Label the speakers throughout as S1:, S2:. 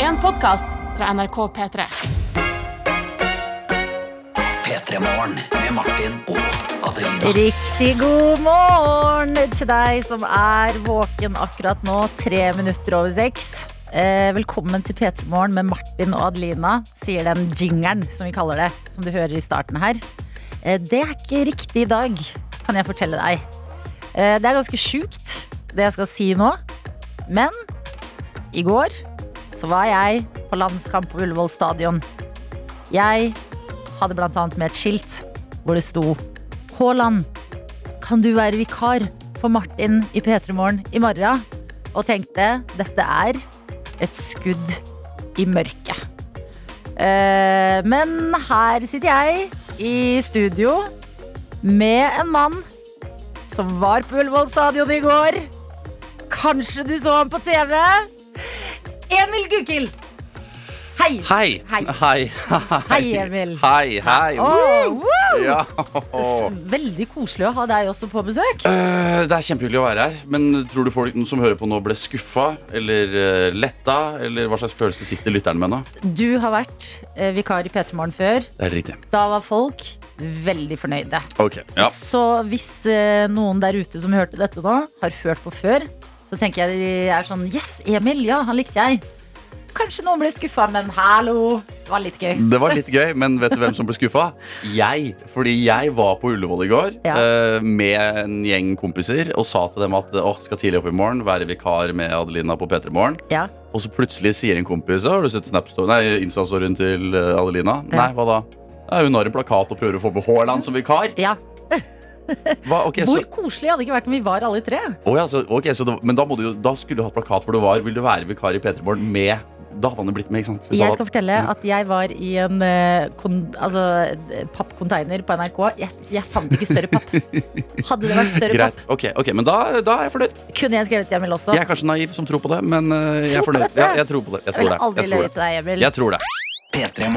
S1: en podkast fra NRK P3.
S2: P3 Morgen med Martin og Adelina.
S3: Riktig god morgen til deg som er våken akkurat nå, tre minutter over seks. Eh, velkommen til P3 Morgen med Martin og Adelina, sier den jingeren som vi kaller det, som du hører i starten her. Eh, det er ikke riktig i dag, kan jeg fortelle deg. Eh, det er ganske sjukt, det jeg skal si nå. Men i går så var jeg på landskamp på Ullevål stadion. Jeg hadde blant annet med et skilt hvor det sto Haaland, kan du være vikar for Martin i P3 Morgen i morgen? Og tenkte dette er et skudd i mørket. Eh, men her sitter jeg i studio med en mann som var på Ullevål stadion i går. Kanskje du så ham på TV? Emil Gukild! Hei!
S4: Hei.
S3: Hei.
S4: Hei, hei.
S3: Hei, Emil.
S4: Hei, hei.
S3: Åh, woo!
S4: Ja.
S3: Veldig koselig å ha deg også på besøk.
S4: Eh, Det er kjempehyggelig å være her, men tror du folk som hører på nå, ble skuffa eller eh, letta? Eller hva slags følelse sitter lytteren med nå?
S3: Du har vært eh, vikar i P3 Morgen før.
S4: Det er riktig.
S3: Da var folk veldig fornøyde.
S4: Ok, ja.
S3: Så hvis eh, noen der ute som hørte dette nå, har hørt på før, så tenker jeg de er sånn Yes, Emil, ja, han likte jeg. Kanskje noen ble skuffa, men hallo, det var litt gøy.
S4: Det var litt gøy, men vet du hvem som ble skuffa? Jeg. Fordi jeg var på Ullevål i går
S3: Ja.
S4: eh, med en gjeng kompiser og sa til dem at åh, skal tidlig opp i morgen, være vikar med Adelina på P3 Morgen.
S3: Ja.
S4: Og så plutselig sier en kompis Har du sett Snapsto- nei, Insta-storyen til eh, Adelina?
S3: Ja.
S4: Nei, hva da? Nei, hun har en plakat og prøver å få med Haaland som vikar.
S3: ja.
S4: Hva? Ok, så,
S3: Hvor koselig hadde det ikke vært om vi var alle tre?
S4: Å ja, så, ok, så det, men da, må du, jo- da skulle du hatt plakat hvor du var. Vil du være vikar i P3 Morgen med Da hadde han jo blitt med, ikke sant? Hvis han Mm.
S3: Jeg
S4: hadde-
S3: skal fortelle at jeg var i en eh, kon, altså, eh, pappconteiner på NRK. Jeg, jeg fant ikke større papp. Hadde det vært større
S4: Greit. Ok, ok, men da, da er jeg fornøyd.
S3: papp, kunne jeg skrevet Emil også.
S4: Jeg er kanskje naiv som tror på det, men eh, jeg er
S3: Tro på
S4: fornøyd.
S3: dette?
S4: Ja, jeg tror på det. Jeg
S3: Jeg
S4: tror det.
S3: ville aldri
S4: Jeg tror
S3: løyet
S4: det.
S3: til deg, Emil.
S4: Jeg tror det.
S2: P3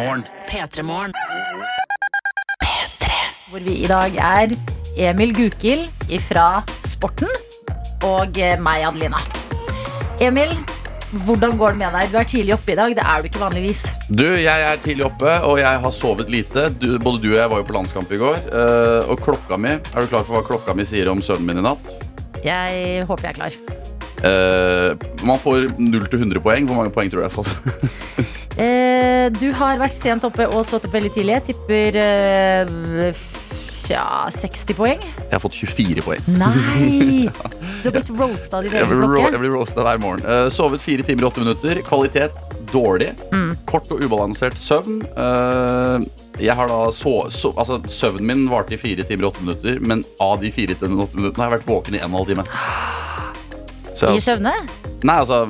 S2: Morgen.
S3: Hvor vi i dag er Emil Gukild fra Sporten og eh, meg, Adelina. Emil, hvordan går det med deg? Du er tidlig oppe i dag. Det er du ikke vanligvis.
S4: Du, jeg er tidlig oppe, og jeg har sovet lite. Du, både du og jeg var jo på landskamp i går. eh, og klokka mi Er du klar for hva klokka mi sier om søvnen min i natt?
S3: Jeg håper jeg er klar.
S4: Eh, man får 0 til 100 poeng. Hvor mange poeng tror du jeg har fått?
S3: Eh, du har vært sent oppe og stått opp veldig tidlig. Jeg tipper eh, f- ja, 60 poeng.
S4: Jeg har fått 24 poeng.
S3: Nei! Du har blitt roasta av din
S4: Jeg
S3: egen
S4: blir, ro jeg
S3: klokke.
S4: blir roasta hver morgen. Eh, sovet 4 timer og 8 minutter. Kvalitet dårlig. Kort og ubalansert søvn. Eh, jeg har da så, så, altså, søvnen min varte i 4 timer og 8 minutter, men av de 4 timer og 8 minuttene har jeg vært våken i 1 12 time. Så
S3: I
S4: jeg,
S3: søvne?
S4: nei, altså,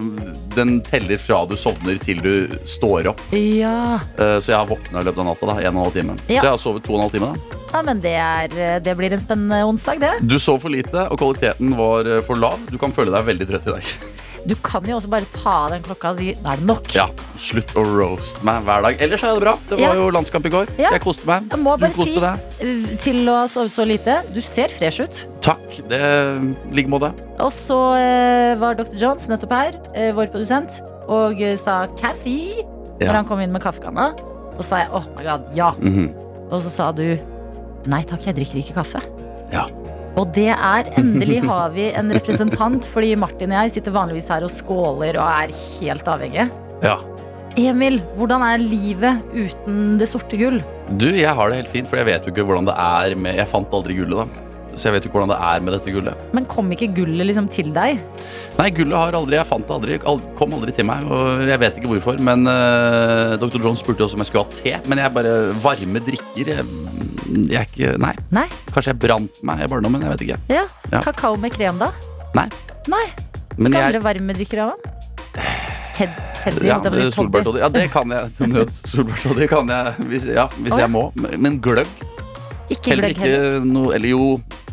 S4: den teller fra du sovner til du står opp.
S3: Ja.
S4: Eh, så jeg har våkna i løpet av natta. da, 1 12 time.
S3: Ja.
S4: Så jeg har sovet 2 12 time. da
S3: ja men det, er, eh, det blir en spennende onsdag, det.
S4: Du sov for lite, og kvaliteten var eh, for lav. Du kan føle deg veldig trøtt i dag.
S3: Du kan jo også bare ta av den klokka og si nå er det nok.
S4: Ja, Slutt å roast meg hver dag. Ellers er det bra. Det var
S3: Ja.
S4: jo landskamp i går.
S3: Ja.
S4: Jeg koste meg.
S3: Jeg må
S4: du
S3: bare
S4: koste
S3: si
S4: deg.
S3: eh, til å ha sovet så lite, du ser fresh ut.
S4: Takk. Det i like måte.
S3: Og så eh, var dr. Jones nettopp her, eh, vår produsent, og eh, sa kaffe
S4: Ja.
S3: når han kom inn med kaffekanna. Og sa jeg oh my god, ja.
S4: Mhm.
S3: Og så sa du nei takk, jeg drikker ikke kaffe.
S4: Ja.
S3: Og det er endelig har vi en representant, fordi Martin og jeg sitter vanligvis her og skåler og er helt avhengige.
S4: ja.
S3: Emil, hvordan er livet uten det sorte gull?
S4: Du, jeg har det helt fint, for jeg vet jo ikke hvordan det er med Jeg fant aldri gullet, da. Så jeg vet jo ikke hvordan det er med dette gullet.
S3: Men kom ikke gullet liksom til deg?
S4: Nei, gullet har aldri Jeg fant det aldri. Al- Kom aldri til meg, og jeg vet ikke hvorfor. Men eh, Dr. John spurte også om jeg skulle ha te, men jeg bare Varme drikker Jeg, jeg er ikke Nei.
S3: Nei.
S4: Kanskje jeg brant meg i barndommen. Jeg vet ikke.
S3: Ja.
S4: Ja.
S3: Kakao med krem, da?
S4: Nei.
S3: Nei,
S4: Men
S3: Hva
S4: jeg
S3: andre varmedrikker av han? Ted, Teddy,
S4: Ja, eh,
S3: holdt jeg på å si, Toddy.
S4: solbærtoddy. Ja, det kan jeg. Til Nød solbærtoddy kan jeg hvis, ja, hvis
S3: Å, ja.
S4: jeg må. Men gløgg
S3: Ikke
S4: heller
S3: gløgg heller.
S4: ikke noe Eller jo,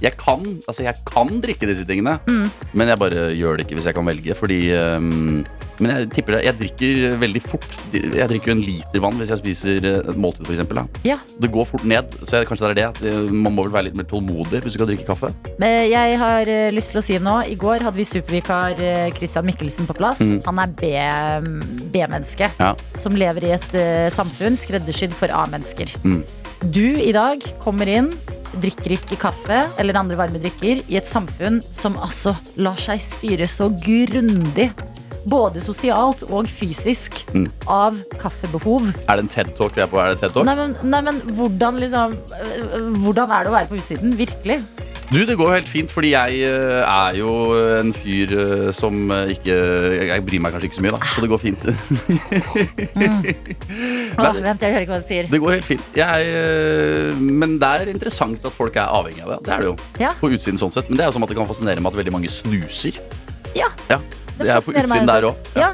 S4: Jeg kan, altså jeg kan drikke disse tingene,
S3: Mm.
S4: men jeg bare gjør det ikke hvis jeg kan velge. Fordi ehm, Men jeg tipper det. Jeg drikker veldig fort. Jeg drikker jo en liter vann hvis jeg spiser eh, et måltid, for eksempel, da.
S3: Ja,
S4: Det går fort ned, så jeg, kanskje det er det. at, eh, Man må vel være litt mer tålmodig hvis du skal drikke kaffe.
S3: men jeg har eh, lyst til å si nå I går hadde vi supervikar eh, Christian Mikkelsen på plass.
S4: Mm.
S3: Han er B- B-menneske.
S4: Ja.
S3: som lever i et eh, samfunn skreddersydd for A-mennesker.
S4: Mm.
S3: Du i dag kommer inn, drikker ikke kaffe eller andre varme drikker i et samfunn som altså lar seg styre så grundig, både sosialt og fysisk,
S4: Mm.
S3: av kaffebehov.
S4: Er det en TED Talk vi er på? Er det TED Talk?
S3: Nei men, nei, men hvordan liksom øh, Hvordan er det å være på utsiden? Virkelig.
S4: Du, det går jo helt fint, fordi jeg eh, er jo en fyr eh, som eh, ikke Jeg jeg bryr meg kanskje ikke så mye, da. Så det går fint.
S3: Åh, vent, jeg hører ikke hva du sier.
S4: Det går helt fint. Jeg, eh, men det er interessant at folk er avhengig av det. Det er det jo.
S3: Ja.
S4: På utsiden sånn sett. Men det er jo som at det kan fascinere meg at veldig mange snuser.
S3: Ja,
S4: Ja, det, er på
S3: fascinerer meg
S4: utsiden der
S3: også.
S4: òg.
S3: Ja.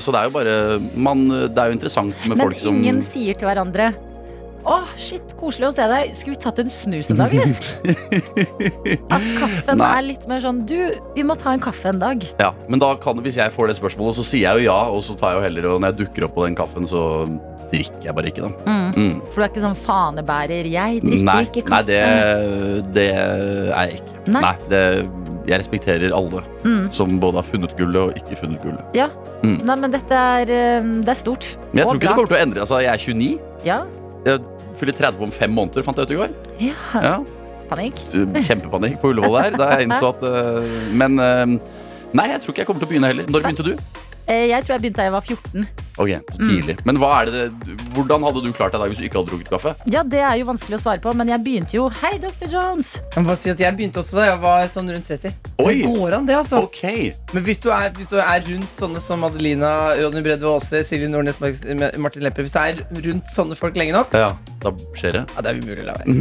S4: så det er jo bare man, Det er jo interessant med
S3: Men
S4: folk som
S3: ingen sier til hverandre Åh, shit, koselig å se deg Skulle vi tatt en snus en dag, eller? At kaffen
S4: Nei.
S3: er litt mer sånn Du, vi må ta en kaffe en dag
S4: Ja, men da kan, hvis jeg får det spørsmålet, så sier jeg jo ja, og så tar jeg jo heller Og når jeg dukker opp på den kaffen, så drikker jeg bare ikke, da. Mm.
S3: For du er ikke sånn fanebærer Jeg drikker
S4: Nei,
S3: ikke
S4: nei
S3: kaffe
S4: det, det er jeg ikke.
S3: Nei.
S4: det, jeg respekterer alle
S3: Mm.
S4: som både har funnet gullet og ikke funnet gullet.
S3: ja.
S4: Mm.
S3: Nei, men dette er, eh, det er stort
S4: Men jeg
S3: Og
S4: tror ikke det
S3: bra.
S4: kommer til å endre Altså, jeg er 29.
S3: Ja,
S4: Jeg fyller 30 om fem måneder, fant jeg ut i går.
S3: ja,
S4: Ja,
S3: panikk
S4: kjempepanikk på Ullevål der. Da jeg innså at eh, Men eh, nei, jeg tror ikke jeg kommer til å begynne heller. Når begynte du?
S3: Eh, Jeg tror jeg begynte da jeg var 14
S4: Ok, så tidlig. Mm. Men hva er det, hvordan hadde du klart deg i dag hvis du ikke hadde drukket kaffe?
S3: Ja, det er jo vanskelig å svare på Men jeg begynte jo Hei, Dr. Jones
S5: Jeg må bare si at jeg begynte også da jeg var sånn rundt 30. Så
S4: Oi.
S5: det går an, det, altså.
S4: Ok,
S5: Men hvis du, er, hvis du er rundt sånne som Adelina, Ronny Bredve Aase, Silje Nordnes, Mar- Martin Lepperød Hvis du er rundt sånne folk lenge nok
S4: ja, Mm. da skjer det.
S5: ja, Det er umulig å la være.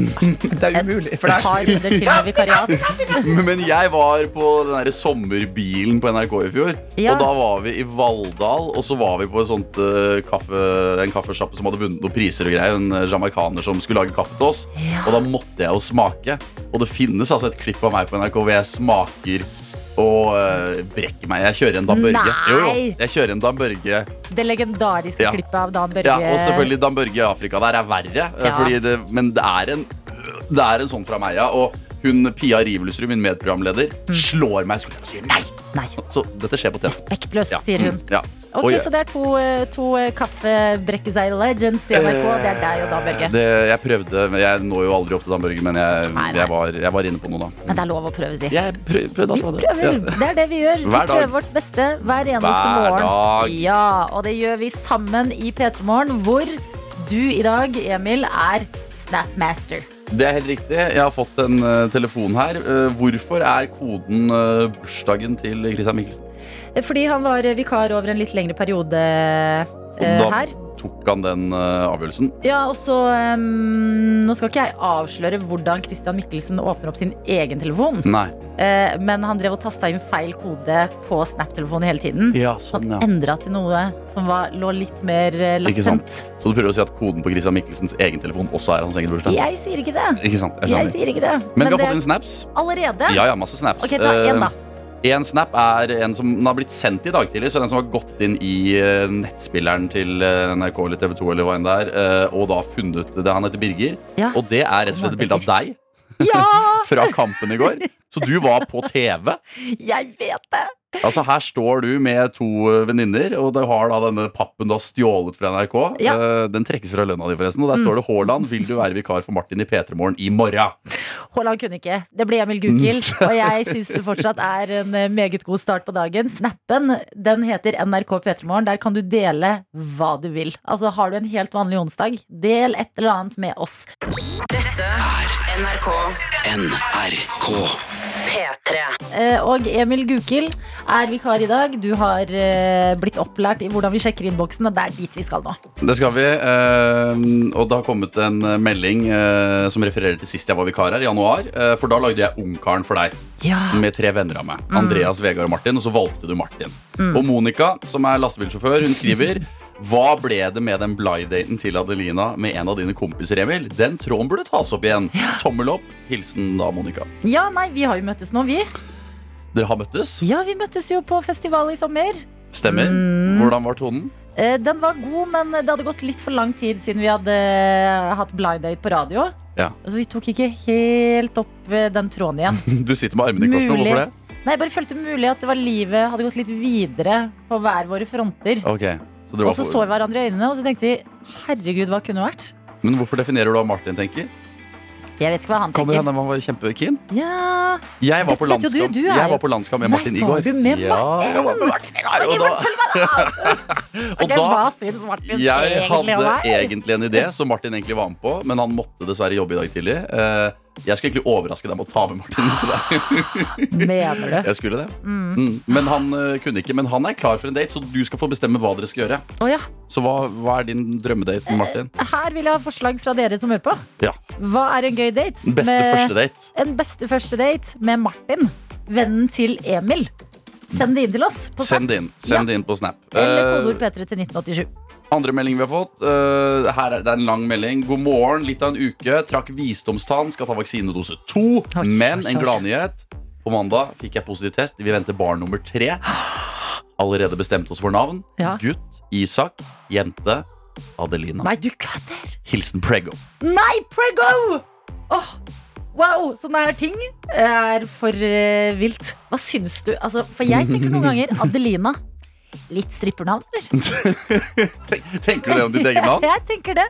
S5: Det er umulig. For det er,
S3: Har runder til med vikariat
S4: Men jeg var på den der sommerbilen på NRK i fjor.
S3: Ja.
S4: Og da var vi i Valldal, og så var vi på et sånt, eh, kaffe, en kaffesjappe som hadde vunnet noen priser og greier. En eh, jamaikaner som skulle lage kaffe til oss. Og da måtte jeg jo smake. Og det finnes altså et klipp av meg på NRK hvor jeg smaker og eh, brekker meg. Jeg kjører en Dan Børge. Jo, jo.
S3: Nei.
S4: Jeg kjører en Dan Børge.
S3: Det legendariske
S4: Ja.
S3: klippet av Dan Børge
S4: Ja, og selvfølgelig Dan Børge i Afrika der er verre. eh,
S3: Ja.
S4: Fordi det, men det er, en, det er en sånn fra meg, ja. Og hun Pia Rivelsrud, min medprogramleder,
S3: Mm.
S4: slår meg i skulderen og sier nei.
S3: Nei,
S4: Så dette skjer på TV.
S3: respektløst,
S4: Ja.
S3: sier hun
S4: Mm, Ja.
S3: Ok,
S4: Og jeg-
S3: Så det er to, eh, to eh, kaffebrekkeseier legends i NRK. Det er deg og Dan Børge.
S4: det, jeg prøvde, men jeg når jo aldri opp til Dan Børge, men jeg,
S3: Nei, nei.
S4: jeg, var, jeg var inne på noe da.
S3: Men det er lov å prøve, si.
S4: Jeg prøv, prøvde altså. det.
S3: Prøver.
S4: Eh, Ja.
S3: Det er det vi gjør. Vi
S4: Hver dag.
S3: prøver vårt beste hver eneste
S4: Hver
S3: morgen.
S4: dag.
S3: Ja, Og det gjør vi sammen i P3 Morgen, hvor du i dag, Emil, er Snapmaster.
S4: Det er helt riktig. Jeg har fått en eh, telefon her. Eh, hvorfor er koden eh, bursdagen til Christian Mikkelsen?
S3: Fordi han var eh, vikar over en litt lengre periode eh,
S4: da
S3: her.
S4: tok han den eh, avgjørelsen.
S3: Ja, og så ehm, Nå skal ikke jeg avsløre hvordan Christian Mikkelsen åpner opp sin egen telefon.
S4: Nei.
S3: Eh, men han drev og tasta inn feil kode på Snap-telefonen hele tiden.
S4: Ja,
S3: Så
S4: sånn,
S3: han
S4: ja.
S3: endra til noe som var, lå litt mer eh,
S4: Ikke
S3: latent.
S4: Så du prøver å si at koden på Christian Mikkelsens egen telefon også er hans egen bursdag?
S3: Jeg sier ikke det.
S4: Ikke sant? Jeg
S3: Jeg
S4: skjønner.
S3: sier ikke det.
S4: Men vi har
S3: det
S4: fått inn snaps.
S3: allerede.
S4: Ja, ja, masse snaps.
S3: Ok, ta én, da.
S4: Eh, en snap er en som den har blitt sendt i dag tidlig, så den som har gått inn i eh, nettspilleren til eh, NRK eller TV 2 eller hva enn det er, eh, og da funnet det. Han heter Birger,
S3: Ja.
S4: og det er rett og slett et bilde av deg
S3: ja!
S4: fra kampen i går. Så du var på TV.
S3: Jeg vet det!
S4: Altså Her står du med to eh, venninner, og du har da denne pappen du har stjålet fra NRK. Eh, Den trekkes fra lønna di, forresten. Og der står det 'Haaland, vil du være vikar for Martin i P3 Morgen i morgen'?
S3: Haaland kunne ikke. Det ble Emil Gukild.
S4: Mm.
S3: Og jeg syns det fortsatt er en eh, meget god start på dagen. Snappen den heter NRK P3morgen. Der kan du dele hva du vil. Altså Har du en helt vanlig onsdag, del et eller annet med oss.
S6: NRK
S2: NRK
S6: P3.
S3: Eh, Og Emil Gukild er vikar i dag. Du har eh, blitt opplært i hvordan vi sjekker innboksen, og det er dit vi skal nå.
S4: Det skal vi. eh, og det har kommet en eh, melding eh, som refererer til sist jeg var vikar her, i januar. eh, for da lagde jeg Ungkaren for deg
S3: Ja. Mm.
S4: med tre venner av meg. Andreas, Vegard og Martin. Og så valgte du Martin. Og Monica, som er lastebilsjåfør, hun skriver Hva ble det med den blind-daten til Adelina med en av dine kompiser, Emil? Den tråden burde tas opp igjen. Tommel opp. Hilsen da, Monica.
S3: Ja, nei, vi har jo møttes nå, vi.
S4: Dere har møttes?
S3: Ja, vi møttes jo på festival i sommer.
S4: Stemmer.
S3: Mm.
S4: Hvordan var tonen?
S3: Eh, Den var god, men det hadde gått litt for lang tid siden vi hadde eh, hatt blind date på radio.
S4: Ja.
S3: Så vi tok ikke helt opp eh, den tråden igjen.
S4: Du sitter med armene i kors nå.
S3: Mulig.
S4: Hvorfor det?
S3: Nei, jeg bare følte mulig at det var livet hadde gått litt videre på hver våre fronter.
S4: Ok. Så dere
S3: Og
S4: var
S3: så
S4: på-
S3: så vi hverandre i øynene, og så tenkte vi herregud, hva kunne vært?
S4: Men hvorfor definerer du hva Martin tenker?
S3: Jeg vet ikke hva han
S4: Kan det
S3: tenker.
S4: hende han var kjempekeen?
S3: Ja,
S4: Jeg var
S3: Dette
S4: på
S3: vet jo du,
S4: landskamp
S3: du er
S4: Jeg
S3: jo-
S4: var på landskamp med
S3: Nei,
S4: Martin i
S3: var
S4: går.
S3: du med
S4: ja, jeg var med Martin i går, og da- og
S3: det
S4: da
S3: var syns Martin
S4: jeg
S3: egentlig om
S4: hadde
S3: meg.
S4: egentlig en idé som Martin egentlig var med på, men han måtte dessverre jobbe i dag tidlig. Eh, Jeg skulle egentlig overraske deg med å ta med Martin. inn til
S3: Ah.
S4: deg.
S3: Mener du?
S4: Jeg skulle det mm. Men han eh, kunne ikke. Men han er klar for en date, så du skal få bestemme hva dere skal gjøre.
S3: Å ja.
S4: Så hva, hva er din drømmedate med Martin?
S3: Her vil jeg ha forslag fra dere som hører på.
S4: Ja,
S3: Hva er en gøy date?
S4: Beste
S3: Med-
S4: første date.
S3: En beste første date med Martin, vennen til Emil. Send det inn til oss. På
S4: Send det inn. Send det inn på Snap.
S3: Eller
S4: Eh,
S3: kodeord P3 til 1987.
S4: Andre melding vi har fått. eh, her er, det er en lang melding. God morgen, litt av en uke. Trakk visdomstann, skal ta vaksinedose to.
S3: Oi,
S4: Men
S3: oi,
S4: en
S3: oi.
S4: gladnyhet. På mandag fikk jeg positiv test. Vi venter barn nummer tre. Allerede bestemt oss for navn.
S3: Ja.
S4: Gutt Isak. Jente Adelina.
S3: Nei, du kødder!
S4: Hilsen Prego.
S3: Nei, Prego! Åh, wow, sånne her ting er for eh, vilt. Hva syns du? Altså, for jeg tenker noen ganger Adelina. Litt strippernavn, eller?
S4: Tenk, tenker du det om ditt eget navn?
S3: Jeg tenker det.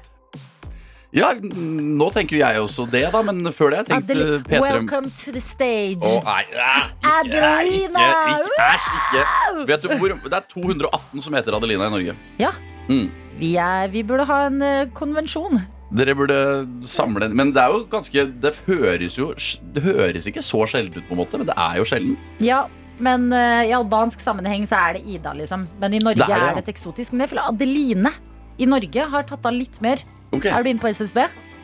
S4: Ja, n- nå tenker jo jeg også det, da, men før det tenkte
S3: Adeli
S4: P3
S3: Welcome to the stage.
S4: Å, nei, æ, ikke, æ,
S3: Adelina!
S4: ikke, ikke, æsj, ikke. Vet du hvor, Det er 218 som heter Adelina i Norge.
S3: Ja.
S4: Mm.
S3: Vi, er, vi burde ha en eh, konvensjon.
S4: Dere burde samle Men det er jo ganske Det høres jo Det høres ikke så sjelden ut, på en måte, men det er jo sjelden.
S3: Ja, men eh, i albansk sammenheng så er det Ida, liksom. Men i Norge
S4: Det er det,
S3: er
S4: ja.
S3: det et eksotisk. Men jeg føler Adeline i Norge har tatt av litt mer.
S4: Ok,
S3: Er du inne på SSB?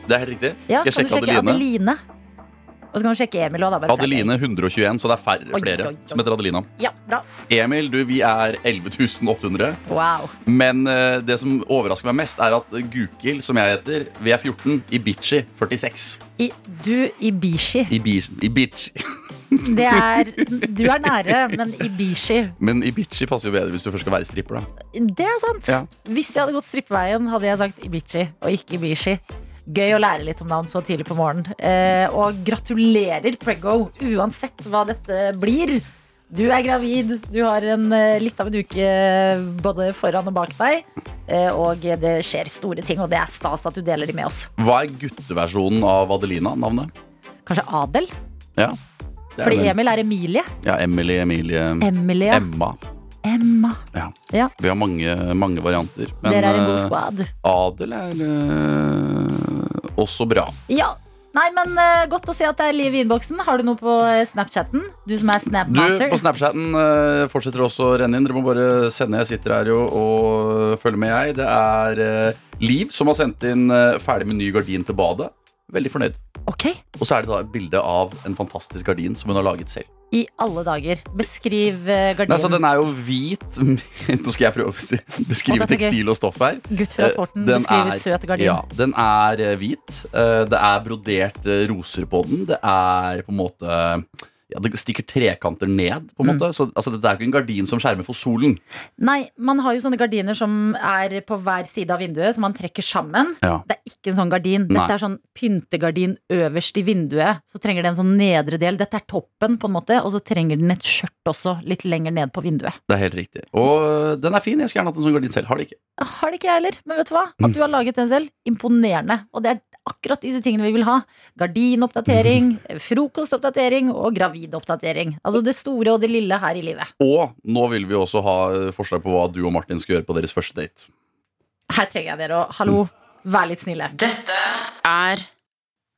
S4: Det er helt riktig.
S3: Ja,
S4: Skal jeg
S3: kan du
S4: sjekke Adeline? Adeline,
S3: Adeline? Og så kan du sjekke Emil òg, da. Bare ferdig.
S4: 121, så det er færre,
S3: Oi,
S4: flere
S3: oi, oi.
S4: som heter Adelina.
S3: Ja, bra.
S4: Emil, du, vi er 11.800
S3: Wow.
S4: Men eh, det som overrasker meg mest, er at Gukil, som jeg heter, vi er 14. Ibichi 46.
S3: I, du Ibishi.
S4: Ibichi. Ibichi.
S3: Det er Du er nære, men Ibishi.
S4: Men Ibichi passer jo bedre hvis du først skal være stripper, da.
S3: Det er sant.
S4: Ja.
S3: Hvis jeg hadde gått strippeveien, hadde jeg sagt Ibishi og ikke Ibishi. Gøy å lære litt om navn så tidlig på morgenen. Eh, og gratulerer, Prego, uansett hva dette blir. Du er gravid, du har en, eh, litt av en uke eh, både foran og bak deg. Eh, og det skjer store ting, og det er stas at du deler de med oss.
S4: Hva er gutteversjonen av Adelina, navnet?
S3: Kanskje Adel?
S4: Ja. Det er
S3: Fordi
S4: vel-
S3: Emil er Emilie.
S4: Ja, Emily, Emilie,
S3: Emilie.
S4: Emma.
S3: Emma.
S4: Ja.
S3: Ja.
S4: Vi har mange, mange varianter.
S3: Dere er en god
S4: eh,
S3: squad.
S4: Adel er eh, også bra.
S3: Ja. Nei, men eh, godt å se at det er liv i innboksen. Har du noe på eh, Snapchatten? Du som
S4: Du,
S3: er Snapmaster.
S4: På Snapchaten eh, fortsetter det også å renne inn. Dere må bare sende. Jeg sitter her jo og følger med, jeg. Det er eh, Liv som har sendt inn eh, ferdig med ny gardin til badet. Veldig fornøyd.
S3: Ok,
S4: Og så er det da et bilde av en fantastisk gardin som hun har laget selv.
S3: i alle dager. Beskriv eh,
S4: Nei, så
S3: gardinen.
S4: Den er jo hvit Nå skal jeg prøve å bes- beskrive
S3: Å, dette er gøy.
S4: tekstil og stoff her.
S3: Gutt fra
S4: eh,
S3: sporten
S4: Den
S3: beskriver
S4: er-
S3: søt gardin.
S4: Ja, den er eh, hvit. Eh, Det er brodert eh, roser på den. Det er på en måte ja, Det stikker trekanter ned. på en måte Så altså, Dette er jo ikke en gardin som skjermer for solen.
S3: Nei, man har jo sånne gardiner som er på hver side av vinduet, som man trekker sammen.
S4: Ja.
S3: Det er ikke en sånn gardin. Dette
S4: Nei.
S3: er sånn pyntegardin øverst i vinduet. Så trenger det en sånn nedre del. Dette er toppen, på en måte. Og så trenger den et skjørt også, litt lenger ned på vinduet.
S4: Det er helt riktig. Og eh, den er fin. Jeg skulle gjerne hatt en sånn gardin selv. Har det ikke.
S3: Har det ikke jeg heller, men vet du hva? At du har laget den selv, imponerende. Og det er akkurat disse tingene vi vil ha. Gardinoppdatering, frokostoppdatering og gravidoppdatering. Altså det store og det lille her i livet.
S4: Og nå vil vi også ha eh, forslag på hva du og Martin skal gjøre på deres første date.
S3: Her trenger jeg dere å Hallo, vær litt snille.
S1: Dette er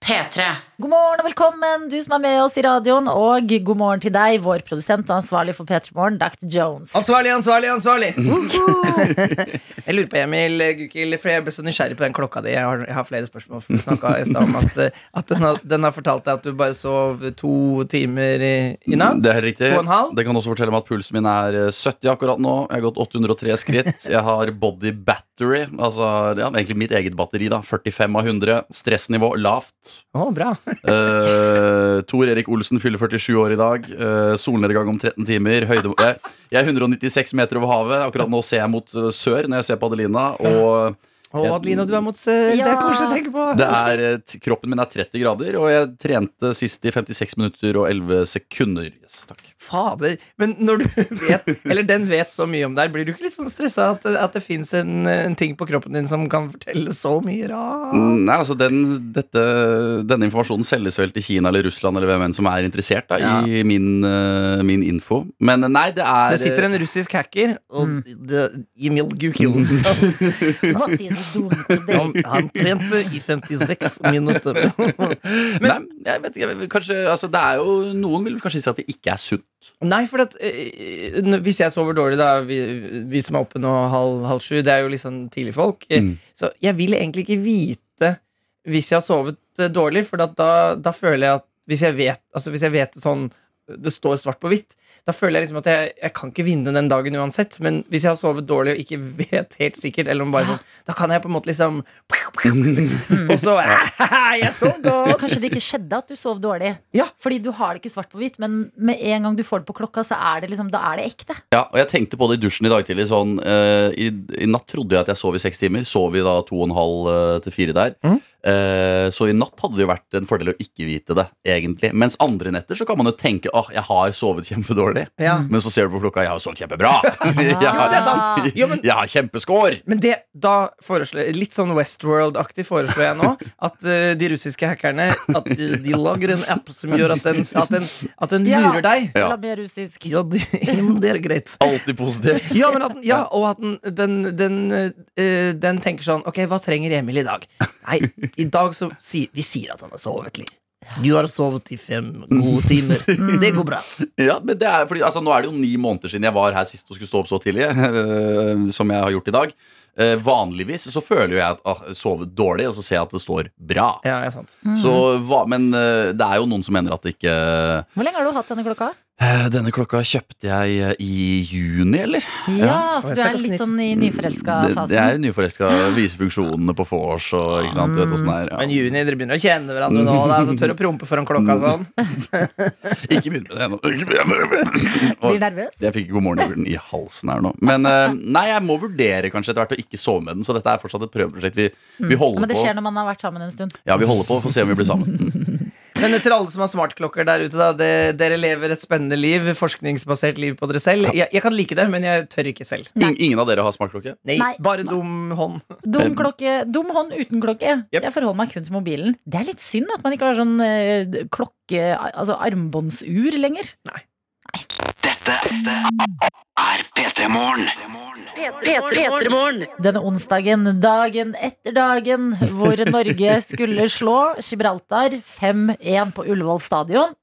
S1: P3.
S3: God morgen og velkommen, du som er med oss i radioen. Og god morgen til deg, vår produsent og ansvarlig for P3 Morgen, Dr. Jones.
S5: Ansvarlig, ansvarlig, ansvarlig!
S4: Mm.
S5: jeg lurer på, Emil eh, Gukild, for jeg ble så nysgjerrig på den klokka di. Jeg har, jeg har flere spørsmål. For du snakka i stad om at, eh, at den, har, den har fortalt deg at du bare sov to timer i, i natt.
S4: Det er helt riktig.
S5: To og en halv?
S4: Det kan også fortelle meg at pulsen min er eh, 70 akkurat nå. Jeg har gått 803 skritt. Jeg har body battery, altså ja, egentlig mitt eget batteri, da. 45 av 100. Stressnivå lavt.
S5: Å, bra.
S4: Eh, Tor Erik Olsen fyller 47 år i dag. Eh, solnedgang om 13 timer. Høyde, eh, jeg er 196 meter over havet. Akkurat nå ser jeg mot eh, sør når jeg ser på Adelina. Og
S5: Å, Adelina, du er mot sør. Det er
S3: Ja.
S5: koselig å tenke på.
S4: det er, eh, t- kroppen min er 30 grader, og jeg trente sist i 56 minutter og 11 sekunder. Yes, takk.
S5: Fader. Men når du vet, eller den vet så mye om deg, blir du ikke litt sånn stressa at, at det fins en, en ting på kroppen din som kan fortelle så mye rart?
S4: Mm, Nei, altså den, dette, Denne informasjonen selges vel til Kina eller Russland eller hvem enn som er interessert da, i min, eh, min info. Men eh, nei, det er
S5: Det sitter en russisk hacker og det, Emil Gukil.
S3: What is doing today?
S5: Han, han trente i 56 minutter.
S4: nei, jeg vet ikke, jeg vet- kanskje, altså, det er jo, Noen vil kanskje si at det ikke er sunt.
S5: Nei, for at, eh, n- hvis jeg sover dårlig, da vi, vi som er oppe nå halv, halv sju, det er jo litt sånn tidlig folk, eh,
S4: Mm.
S5: så jeg vil egentlig ikke vite hvis jeg har sovet eh, dårlig, for at da, da føler jeg at hvis jeg vet, altså hvis jeg vet det sånn det står svart på hvitt. Da føler jeg liksom at jeg, jeg kan ikke vinne den dagen uansett. Men hvis jeg har sovet dårlig og ikke vet helt sikkert, eller om bare sånn, da kan jeg på en måte liksom Og så Jeg sov
S3: Men
S5: godt!
S3: kanskje det ikke skjedde at du sov dårlig?
S5: Ja.
S3: Fordi du har det ikke svart på hvitt, men med en gang du får det på klokka, så er det liksom, da er det ekte.
S4: Ja, og Jeg tenkte på det i dusjen i dag tidlig. sånn, eh, i, I natt trodde jeg at jeg sov i seks timer. Sov i da to og en halv eh, til fire der.
S5: Mhm.
S4: Eh, så i natt hadde det jo vært en fordel å ikke vite det, egentlig. Mens andre netter så kan man jo tenke åh, jeg har sovet kjempedårlig.
S5: Ja.
S4: Men så ser du på klokka, jeg har sovet kjempebra! jeg,
S3: Jo, det er
S4: har,
S3: sant.
S5: Jo, men-
S4: jeg har kjempescore!
S5: Men det, da foreslår jeg, litt sånn Westworld-aktig foreslår jeg nå, at eh, de russiske hackerne At de, de lager en app som gjør at den, at den, at den
S3: Ja.
S5: lurer deg.
S4: Ja.
S3: La meg russisk.
S5: Ja, det, det er greit.
S4: Alltid positivt.
S5: Ja, men at den, ja og at den, den, den, eh, den tenker sånn Ok, hva trenger Emil i dag? Nei, i dag så si, Vi sier at han har sovet litt. Du har sovet i fem gode timer. Det går bra.
S4: Ja, men det er fordi, altså, Nå er det jo ni måneder siden jeg var her sist og skulle stå opp så tidlig. eh, som jeg har gjort i dag. Eh, vanligvis så føler jo jeg at ah, jeg sovet dårlig, og så ser jeg at det står bra.
S5: Ja, ja, sant.
S4: Så,
S3: Mhm.
S4: hva, men eh, det er jo noen som mener at det ikke
S3: Hvor lenge har du hatt denne klokka?
S4: Eh, Denne klokka kjøpte jeg eh, i juni, eller?
S3: Ja, så
S5: Og jeg
S3: du
S5: snakker
S3: er litt
S5: sknitt.
S3: sånn i nyforelska
S4: Det, det er
S3: fasen.
S4: jo nyforelska. Vise funksjonene på vors og ikke sant, du vet hvordan det er.
S5: Men
S4: Ja.
S5: Juni, dere begynner å kjenne hverandre nå. Da, så tør å prompe foran klokka sånn.
S4: Ikke begynn med det ennå. Ikke begynn med det.
S3: Blir
S4: Og
S3: nervøs?
S4: Jeg fikk God morgen julen i halsen her nå. Men eh, nei, jeg må vurdere kanskje etter hvert å ikke sove med den, så dette er fortsatt et prøveprosjekt. Vi, vi holder
S3: Mm. Men det
S4: på.
S3: skjer når man har vært sammen en stund.
S4: Ja, vi holder på for å se om vi blir sammen. Mm.
S5: Men til alle som har smartklokker der ute, da. Det, dere lever et spennende liv. Forskningsbasert liv på dere selv. Jeg, jeg kan like det, men jeg tør ikke selv.
S4: Ing- Ingen av dere har smartklokke?
S5: Nei,
S3: Nei.
S5: Bare dum hånd.
S3: Dum, klokke, dum hånd uten klokke.
S5: Jep.
S3: Jeg forholder meg kun til mobilen. Det er litt synd at man ikke har sånn eh, klokke, altså armbåndsur lenger.
S2: er P3 Morgen.
S6: P3morgen.
S3: Denne onsdagen, dagen etter dagen, hvor Norge skulle slå Gibraltar 5-1 på Ullevål stadion.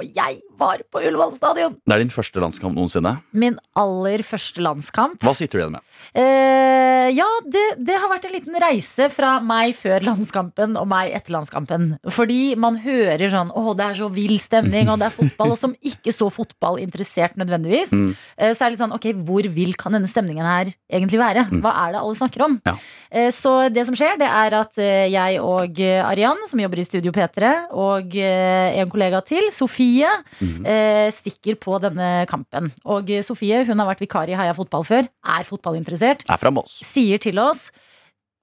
S3: Og jeg var på Ullevål stadion!
S4: Det er din første landskamp noensinne.
S3: Min aller første landskamp.
S4: Hva sitter du igjen med?
S3: Eh, ja, det, det har vært en liten reise fra meg før landskampen og meg etter landskampen. Fordi man hører sånn Å, det er så vill stemning, og det er fotball. Og som ikke så fotballinteressert nødvendigvis,
S4: Mm.
S3: eh, så er det litt sånn Ok, hvor vill kan denne stemningen her egentlig være? Hva er det alle snakker om?
S4: Mm. Ja.
S3: Eh, så det som skjer, det er at eh, jeg og eh, Arian, som jobber i Studio P3, og eh, en kollega til, Sofie,
S4: Mm.
S3: eh, stikker på denne kampen. Og eh, Sofie, hun har vært vikar i Heia fotball før, er fotballinteressert,
S4: Er fra Moss.
S3: sier til oss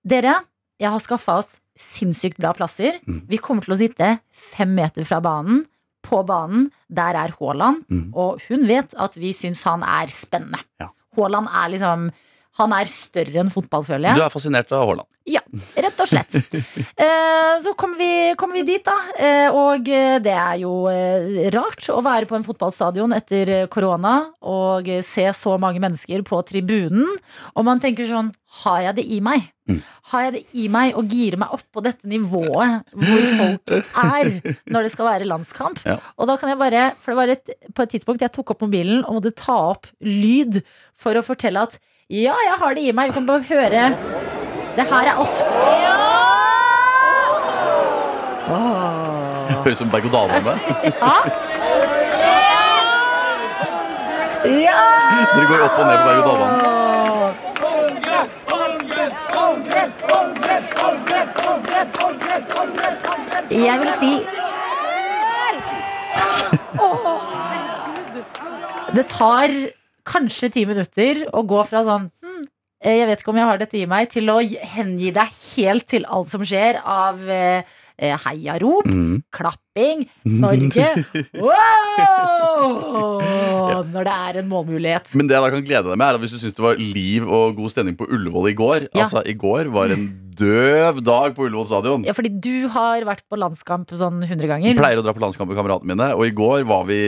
S3: Dere, jeg har skaffa oss sinnssykt bra plasser.
S4: Mm.
S3: Vi kommer til å sitte fem meter fra banen. På banen, der er Haaland,
S4: Mm.
S3: og hun vet at vi syns han er spennende.
S4: Ja.
S3: Haaland er liksom Han er større enn fotball, føler jeg.
S4: Du er fascinert av Haaland.
S3: Ja, rett og slett. Eh, så kommer vi, kommer vi dit, da. Eh, og eh, det er jo eh, rart å være på en fotballstadion etter eh, korona og eh, se så mange mennesker på tribunen. Og man tenker sånn Har jeg det i meg?
S4: Mm.
S3: Har jeg det i meg å gire meg opp på dette nivået hvor folk er når det skal være landskamp?
S4: Ja.
S3: Og da kan jeg bare For det var et, på et tidspunkt jeg tok opp mobilen og måtte ta opp lyd for å fortelle at ja, jeg har det i meg. Vi kan bare høre det her er oss. Åh.
S4: Høres ut som berg-og-dal-bane.
S3: Ja. Ja!
S4: Dere går opp og ned på berg-og-dal-banen.
S3: Jeg vil si Det tar kanskje ti minutter å gå fra sånn hm, eh, jeg vet ikke om jeg har dette i meg, til å hengi deg helt til alt som skjer av eh, eh, heiarop,
S4: Mm.
S3: klapping, Norge wow! Når det er en målmulighet.
S4: Men det jeg da kan glede deg med, er at hvis du syns det var liv og god stemning på Ullevål i går
S3: Ja.
S4: Altså, i går var en døv dag på Ullevål stadion.
S3: Ja, fordi du har vært på landskamp sånn 100 ganger.
S4: Pleier å dra på landskamp med kameratene mine, og i går var vi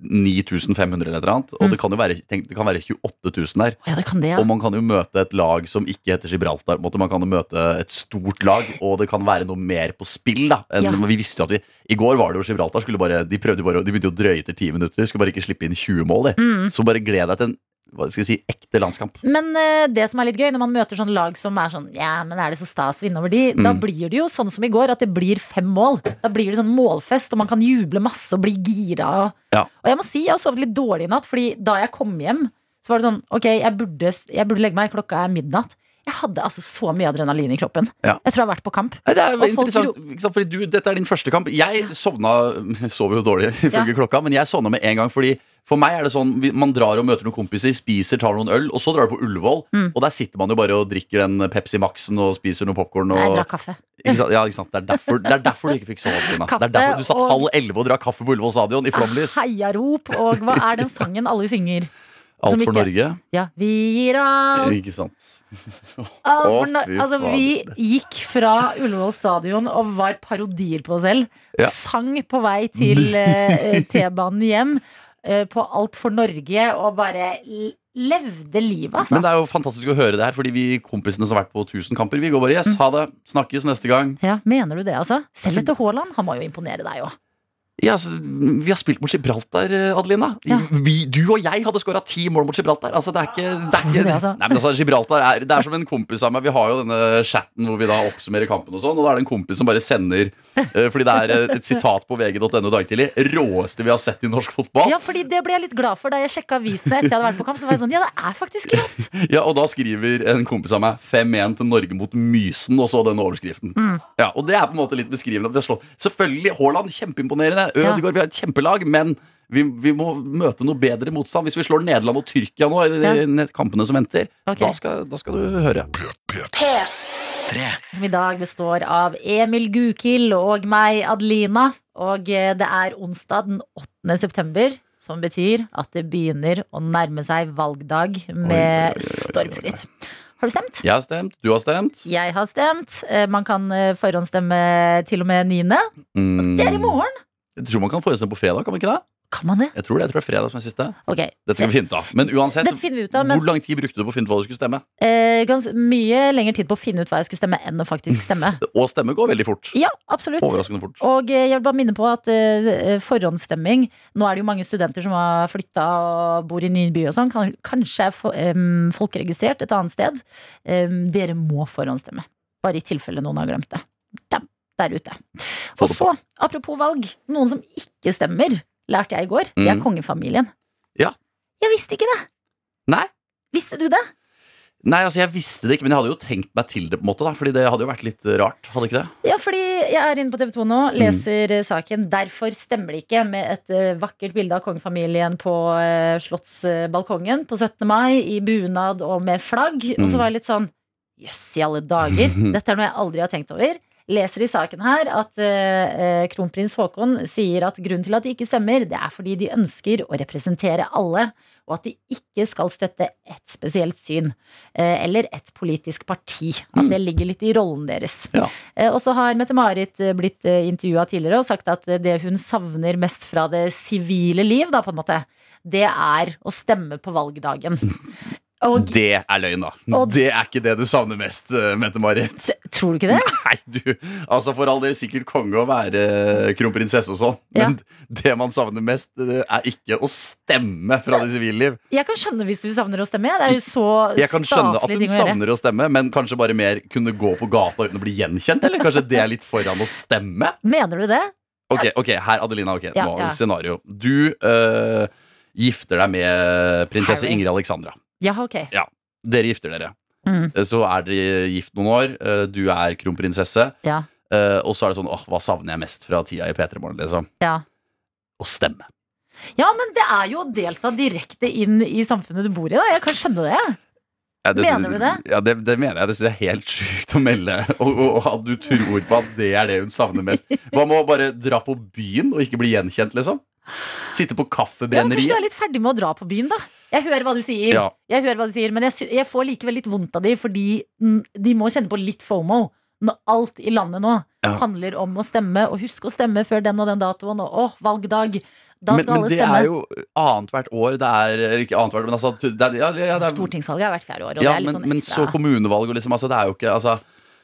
S4: 9500 eller et eller
S3: Mm.
S4: annet. Og det kan jo være, tenk, det kan være 28 000 der.
S3: Å Ja, det kan det, ja.
S4: Og man kan jo møte et lag som ikke heter Gibraltar. på en måte. Man kan jo møte et stort lag, og det kan være noe mer på spill. da. enn-
S3: Ja.
S4: Vi visste jo at vi, I går var det jo Gibraltar. skulle bare, De prøvde jo bare, å- de begynte jo å drøye etter ti minutter. Skulle bare ikke slippe inn 20 mål. De.
S3: Mm.
S4: Så bare gled deg til en hva skal jeg si, ekte landskamp.
S3: Men eh, det som er litt gøy, når man møter sånn lag som er sånn Ja, men er det så stas å vinne over de? Da
S4: Mm.
S3: blir det jo sånn som i går, at det blir fem mål. Da blir det sånn målfest, og man kan juble masse og bli gira. Og,
S4: Ja.
S3: og jeg må si jeg har sovet litt dårlig i natt, fordi da jeg kom hjem, så var det sånn Ok, jeg burde, jeg burde legge meg, klokka er midnatt. Jeg hadde altså så mye adrenalin i kroppen.
S4: Ja.
S3: Jeg tror jeg har vært på kamp.
S4: Nei, det er
S3: folk
S4: interessant, ikke sant? fordi du, Dette er din første kamp. Jeg sovna jeg sov jo dårlig ifølge klokka, men jeg sovna med en gang. fordi For meg er det sånn vi- man drar og møter noen kompiser, spiser, tar noen øl, og så drar du på Ullevål.
S3: Mm.
S4: Og der sitter man jo bare og drikker den Pepsi Max-en og spiser noe popkorn.
S3: Nei, Jeg
S4: Og,
S3: drakk kaffe.
S4: ikke sant? Ja, ikke sant? Det, er derfor, det er derfor du ikke fikk sove. Trina. Det
S3: Kaffe
S4: er derfor du satt
S3: og-
S4: halv elleve og drakk kaffe på Ullevål stadion i flomlys.
S3: Heiarop, Ah, og hva er den sangen alle synger?
S4: Alt for
S3: ikke-
S4: Norge.
S3: Ja, vi gir alt.
S4: Ikke sant.
S3: Ah,
S4: Å,
S3: for nå-
S4: fy
S3: altså, vi gikk fra Ullevål stadion og var parodier på oss selv.
S4: Ja.
S3: Sang på vei til eh, T-banen hjem eh, på Alt for Norge og bare l- levde livet, altså.
S4: Men det er jo fantastisk å høre det her, fordi vi kompisene som har vært på 1000 kamper, vi går bare yes, ha det. Snakkes neste gang.
S3: ja, mener du det, altså? Selv etter Haaland. Han må jo imponere deg òg.
S4: Ja, altså, vi har spilt mot Gibraltar, eh, Adelina. I-
S3: Ja.
S4: Vi, du og jeg hadde skåra ti mål mot Gibraltar. Altså, det er ikke, det er
S3: du
S4: ikke
S3: det, altså?
S4: Nei, men altså, Gibraltar er, det er som en kompis av meg. Vi har jo denne chatten hvor vi da oppsummerer kampen, og sånn Og da er det en kompis som bare sender eh, Fordi det er eh, et sitat på vg.no i dag tidlig. Råeste vi har sett i norsk fotball.
S3: Ja, fordi det ble jeg litt glad for da jeg sjekka avisene etter jeg hadde vært på kamp. Så var jeg sånn, ja, det er faktisk rått.
S4: Ja, og da skriver en kompis av meg 5-1 til Norge mot Mysen, og så den overskriften.
S3: Mm.
S4: Ja, Og det er på en måte litt beskrivende. at vi har slått Selvfølgelig, Haaland, kjempeimponerende.
S3: Ja.
S4: Ødegaard, vi har et kjempelag. Men vi, vi må møte noe bedre motstand. Hvis vi slår Nederland og Tyrkia nå, i de
S3: Ja.
S4: nett- kampene som venter,
S3: Ok.
S4: da, skal, da skal du høre.
S2: Tre.
S3: Som i dag består av Emil Gukild og meg, Adelina. Og eh, det er onsdag den 8. september, som betyr at det begynner å nærme seg valgdag
S4: Oi, oi, oi,
S3: med
S4: oi, oi.
S3: stormskritt. Har du stemt?
S4: Jeg har stemt, du har stemt.
S3: Jeg har stemt. Eh, Man kan eh, forhåndsstemme til og med 9.
S4: Mm.
S3: Det er i morgen!
S4: Jeg tror man kan forestille på fredag, kan man ikke det?
S3: Kan man det?
S4: Jeg tror det, jeg tror det er fredag som er siste.
S3: Ok.
S4: Dette skal vi finne ut av. Men uansett,
S3: Dette finner vi ut av, men
S4: hvor lang tid brukte du på å finne ut hva du skulle stemme?
S3: eh, gans mye lengre tid på å finne ut hva jeg skulle stemme, enn å faktisk stemme.
S4: Og stemme går veldig fort.
S3: Ja, absolutt.
S4: Overraskende fort.
S3: Og eh, jeg vil bare minne på at eh, forhåndsstemming Nå er det jo mange studenter som har flytta og bor i ny by og sånn. Kan, kanskje er fo- em, folkeregistrert et annet sted. Em, dere må forhåndsstemme. Bare i tilfelle noen har glemt det. Dem der ute.
S4: Få
S3: Og
S4: det
S3: så, apropos valg. Noen som ikke stemmer, lærte jeg i går. Det er
S4: Mm.
S3: kongefamilien.
S4: Ja.
S3: Jeg visste ikke det.
S4: Nei.
S3: Visste du det?
S4: Nei, altså jeg visste det ikke, men jeg hadde jo tenkt meg til det på en måte da Fordi det hadde jo vært litt eh, rart, hadde ikke det?
S3: Ja, fordi jeg er inne på TV 2 nå, leser eh, saken. Derfor stemmer det ikke med et eh, vakkert bilde av kongefamilien på eh, slottsbalkongen på 17. mai, i bunad og med flagg. Og
S4: Mm.
S3: så var jeg litt sånn Jøss, i alle dager! Dette er noe jeg aldri har tenkt over. leser i saken her at eh, eh, kronprins Haakon sier at grunnen til at det ikke stemmer, det er fordi de ønsker å representere alle, og at de ikke skal støtte ett spesielt syn eh, eller ett politisk parti. At det ligger litt i rollen deres.
S4: Mm. Ja.
S3: Eh, Og så har Mette-Marit eh, blitt intervjua tidligere og sagt at eh, det hun savner mest fra det sivile liv, da, på en måte, det er å stemme på valgdagen. Og
S4: Det er løgn, da.
S3: Og-
S4: Det er ikke det du savner mest, eh, Mette-Marit.
S3: tror du ikke det?
S4: Nei, du Altså, for all del sikkert konge å være eh, kronprinsesse og sånn, men det man savner mest, eh, er ikke å stemme fra det sivile liv.
S3: Jeg kan skjønne hvis du savner å stemme. Det er jo så
S4: Jeg kan skjønne at
S3: staselig
S4: hun
S3: ting å gjøre.
S4: savner å stemme, men kanskje bare mer kunne gå på gata uten å bli gjenkjent? Eller kanskje det er litt foran å stemme?
S3: Mener du det?
S4: Ok, ok, her, Adelina. ok,
S3: Ja,
S4: nå
S3: ja.
S4: Scenario. Du eh, gifter deg med prinsesse
S3: Harry.
S4: Ingrid Alexandra.
S3: Ja, ok.
S4: Dere gifter dere.
S3: Mm.
S4: Eh, Så er dere gift noen år. eh, Du er kronprinsesse.
S3: Ja.
S4: Eh, og så er det sånn åh, hva savner jeg mest fra tida i P3 Morgen? Liksom?
S3: Ja.
S4: Å stemme.
S3: ja, men det er jo å delta direkte inn i samfunnet du bor i, da. Jeg kan skjønne det.
S4: Ja, det-
S3: Mener du det?
S4: Ja, det, det mener jeg. Det synes jeg er helt sjukt å melde. Og, og, og at du tror på at det er det hun savner mest. Hva med å bare dra på byen og ikke bli gjenkjent, liksom? Sitte på
S3: Ja, men kanskje du er
S4: kaffebrenneriet.
S3: litt ferdig med å dra på byen, da. Jeg hører hva du sier,
S4: Ja.
S3: jeg hører hva du sier men jeg, sy jeg får likevel litt vondt av de, fordi mm, de må kjenne på litt fomo. Når alt i landet nå
S4: Ja.
S3: handler om å stemme, og husk å stemme før den og den datoen, og åh, valgdag. Da
S4: Men,
S3: skal
S4: men
S3: alle
S4: det
S3: stemme.
S4: er jo annethvert år. Det er eller ikke annethvert, men altså det er, ja, ja, det er,
S3: Stortingsvalget er hvert fjerde år, og det
S4: Ja,
S3: er litt
S4: men,
S3: sånn
S4: men
S3: ekstra
S4: så kommunevalg og liksom altså, Det er jo ikke altså,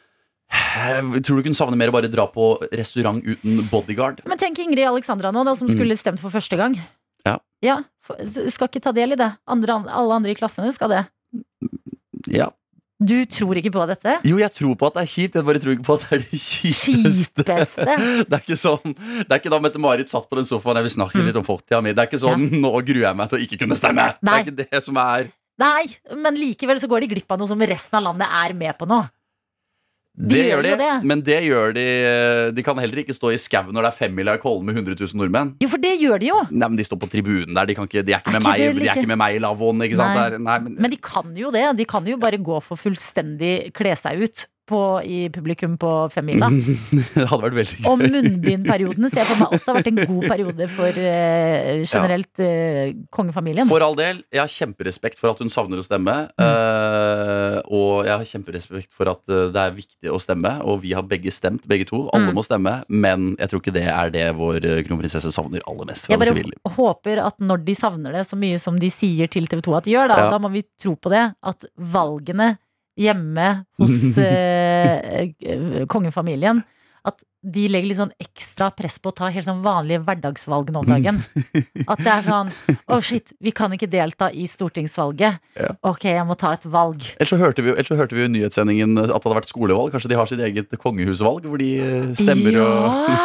S4: Tror du ikke hun savner mer å bare dra på restaurant uten bodyguard?
S3: Men tenk Ingrid Alexandra nå, da, som skulle stemt for første gang.
S4: Mm. Ja.
S3: for, skal ikke ta del i det. Andre, alle andre i klassen hennes skal det.
S4: Ja.
S3: Du tror ikke på dette?
S4: Jo, jeg tror på at det er kjipt, jeg bare tror ikke på at det er det kjipeste.
S3: Kjipeste!
S4: Det er ikke sånn Det er ikke da Mette-Marit satt på den sofaen jeg vil
S3: Mm.
S4: snakke litt om fortida mi. Det er ikke sånn 'nå gruer jeg meg til å ikke kunne stemme'.
S3: Nei.
S4: Det er ikke det som er
S3: Nei, men likevel så går de glipp av noe som resten av landet er med på nå.
S4: Det
S3: gjør
S4: gjør de,
S3: jo det.
S4: men det gjør de eh, De kan heller ikke stå i skauen når det er femmila i Kollen med 100 000 nordmenn.
S3: Jo, for det gjør de jo.
S4: Nei, men De står på tribunen der. De, kan ikke, de, er, ikke
S3: Er
S4: med
S3: ikke det
S4: meg, de
S3: like-
S4: er ikke med meg i lavvoen. Ikke sant?
S3: Nei.
S4: Det er- Nei, men,
S3: Men de kan jo det. De kan jo bare gå for fullstendig kle seg ut på, i publikum på femmila.
S4: det hadde vært veldig
S3: Og munnbindperiodene ser jeg for meg også har vært en god periode for eh, generelt eh, kongefamilien.
S4: For all del, jeg har kjemperespekt for at hun savner å stemme. eh, og jeg har kjemperespekt for at eh, det er viktig å stemme, og vi har begge stemt, begge to. Alle
S3: Mm.
S4: må stemme, men jeg tror ikke det er det vår eh, kronprinsesse savner aller mest fra
S3: Jeg
S4: det
S3: bare
S4: sivile liv.
S3: håper at når de savner det så mye som de sier til TV 2 at de gjør, da,
S4: Ja.
S3: da må vi tro på det, at valgene hjemme hos eh, eh, kongefamilien at de legger litt sånn ekstra press på å ta helt sånn vanlige hverdagsvalg nå
S4: Mm.
S3: om dagen. At det er sånn Å, shit, vi kan ikke delta i stortingsvalget.
S4: Ja.
S3: Ok, jeg må ta et valg.
S4: Ellers så hørte vi jo- ellers så hørte vi jo i nyhetssendingen eh, at det hadde vært skolevalg. Kanskje de har sitt eget kongehusvalg, hvor de eh, stemmer
S3: Ja.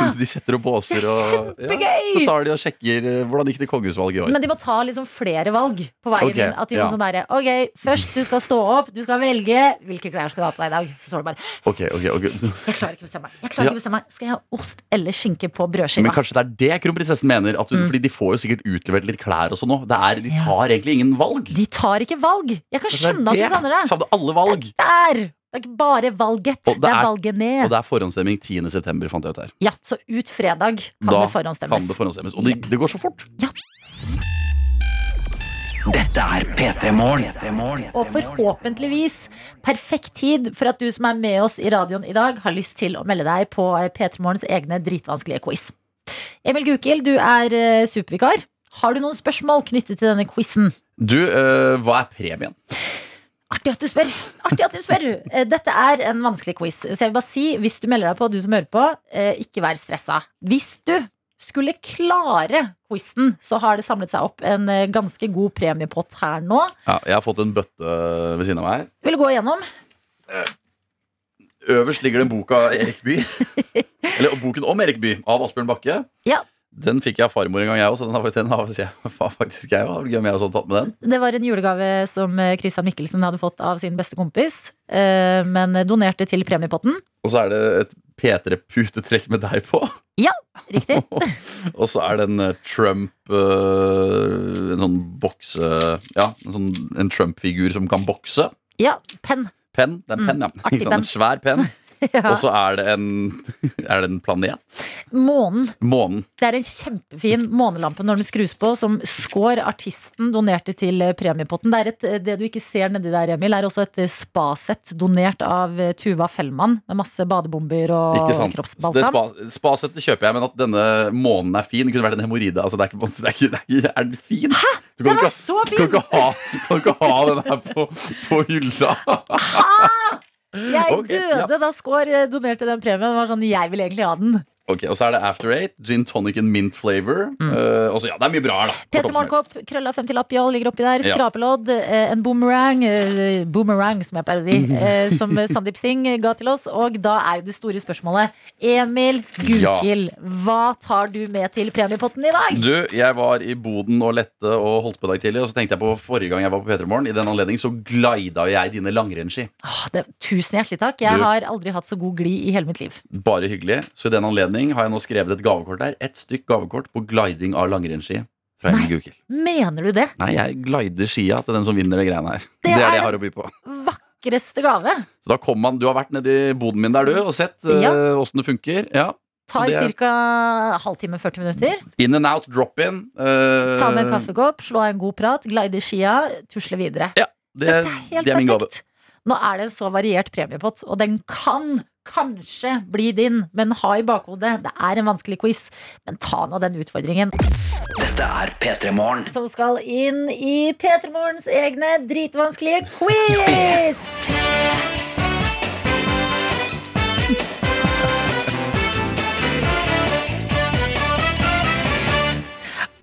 S4: og De setter opp båser
S3: Det er
S4: og
S3: kjempegøy!
S4: Så tar de og sjekker eh, hvordan gikk det kongehusvalget i år.
S3: Men de må ta liksom flere valg på veien
S4: Ok,
S3: inn. At de må
S4: ja.
S3: sånn derre Ok, først du skal stå opp, du skal velge hvilke klær skal du ha på deg i dag. Så står det bare
S4: Ok, ok, ok
S3: Jeg klarer ikke å bestemme meg. Jeg klarer
S4: Ja.
S3: ikke å bestemme meg. Skal jeg ha ost eller skinke på
S4: Men
S3: brødskiva?
S4: kanskje det er det kronprinsessen mener. At hun, Fordi de får jo sikkert utlevert litt klær og sånn òg. De
S3: Mm. Ja.
S4: tar egentlig ingen valg.
S3: De tar ikke valg. Jeg kan
S4: Kanskje
S3: skjønne at de savner det.
S4: Savner alle valg.
S3: Der! Det er ikke bare valget.
S4: Og det
S3: Det,
S4: er-
S3: er valget
S4: Og
S3: ned.
S4: det er forhåndsstemming 10. september, fant jeg ut her.
S3: Ja, så ut fredag kan
S4: Da
S3: det forhåndsstemmes.
S4: Kan det forhåndsstemmes. Og det, det går så fort.
S3: Ja.
S2: Dette er P3 Morgen.
S3: Og forhåpentligvis perfekt tid for at du som er med oss i radioen i dag, har lyst til å melde deg på P3 Morgens egne dritvanskelige quiz. Emil Gukild, du er eh, supervikar. Har du noen spørsmål knyttet til denne quizen?
S4: Du, eh, hva er premien?
S3: Artig at du spør. Artig at du spør. Eh, Dette er en vanskelig quiz. Så jeg vil bare si, hvis du melder deg på, du som hører på, eh, ikke vær stressa. Hvis du skulle klare quizen, så har det samlet seg opp en eh, ganske god premiepott her nå.
S4: Ja, jeg har fått en bøtte ved siden av meg her.
S3: Jeg vil gå igjennom.
S4: Øverst ligger den boka Erik By. Eller boken om Erik By, av Asbjørn Bakke.
S3: Ja.
S4: Den fikk jeg av farmor en gang, jeg òg, så den har fakt- den har faktisk jeg òg. Gøy om jeg også hadde tatt med den.
S3: Det var en julegave som eh, Christian Mikkelsen hadde fått av sin beste kompis, eh, men donerte til premiepotten.
S4: Og så er det et P3-putetrekk med deg på.
S3: Riktig.
S4: Og så er det en eh, Trump eh, En sånn bokse Ja, en, sånn, en Trump-figur som kan bokse.
S3: Ja, penn.
S4: Penn. Det er en
S3: Mm,
S4: penn, ja.
S3: artig
S4: Ikke sant?
S3: penn.
S4: En svær penn.
S3: Ja.
S4: Og så er det en, er det en planet.
S3: Månen.
S4: Månen.
S3: Det er en kjempefin månelampe når den skrus på, som Skår, artisten, donerte til eh, premiepotten. Det, er et, eh, det du ikke ser nedi der, Emil, er også et eh, spasett donert av eh, Tuva Fellmann. Med masse badebomber og
S4: Ikke sant? Så Det
S3: kroppsbalsam.
S4: spa, spasettet kjøper jeg, men at denne månen er fin, det kunne vært en hemoroide. Altså, det er, ikke, på en måte- det er, ikke, det er, ikke, er den fin? Hæ? Du
S3: Den
S4: kan
S3: er
S4: ikke,
S3: så
S4: du kan
S3: fin!
S4: ikke ha, du kan ikke ha den her på, på hylla.
S3: Jeg
S4: Ok, ja.
S3: døde da Skår eh, donerte den premien. Det var sånn, Jeg vil egentlig ha den.
S4: Ok, Og så er det After Eight, gin tonic and mint flavor. Eh, og så, ja, Det er mye bra her, da.
S3: Mm. Peter
S4: Kort oppsummert.
S3: Morgenkopp, krølla femtilapp, jål ligger oppi der.
S4: Ja.
S3: Skrapelodd, eh, en boomerang, eh, boomerang som jeg pleier å si, eh, som Sandeep Singh ga til oss. Og da er jo det store spørsmålet. Emil Gukild, hva tar du med til premiepotten i dag?
S4: Du, jeg var i boden og lette og holdt på i dag tidlig. Og så tenkte jeg på forrige gang jeg var på P3 Morgen, i den anledning så glida jeg dine langrennsski.
S3: Åh, det, tusen hjertelig takk. Jeg
S4: Du-
S3: har aldri hatt så god glid i hele mitt liv.
S4: Bare hyggelig. Så i den anledning har jeg nå skrevet et gavekort der. Et stykk gavekort på gliding av langrennsski fra Emil Gukild.
S3: Mener du det?
S4: Nei, jeg glider skia til den som vinner det greiene her. Det,
S3: Det
S4: er
S3: er-
S4: det jeg har å by på.
S3: Vakreste gave.
S4: Så da kom man, Du har vært nedi boden min der, du, og sett eh,
S3: Ja.
S4: åssen det funker. Ja.
S3: Tar
S4: Så det er-
S3: ca. halvtime, 40 minutter.
S4: In and out, drop in. eh,
S3: Ta med en kaffekopp, slå av en god prat, glide i skia, tusle videre.
S4: Det,
S3: Dette er helt
S4: det er min gave.
S3: perfekt. Nå er det en så variert premiepott, og den kan kanskje bli din, men ha i bakhodet, det er en vanskelig quiz. Men ta nå den utfordringen
S2: Dette er P3 Morgen.
S3: som skal inn i P3 Morgens egne dritvanskelige quiz!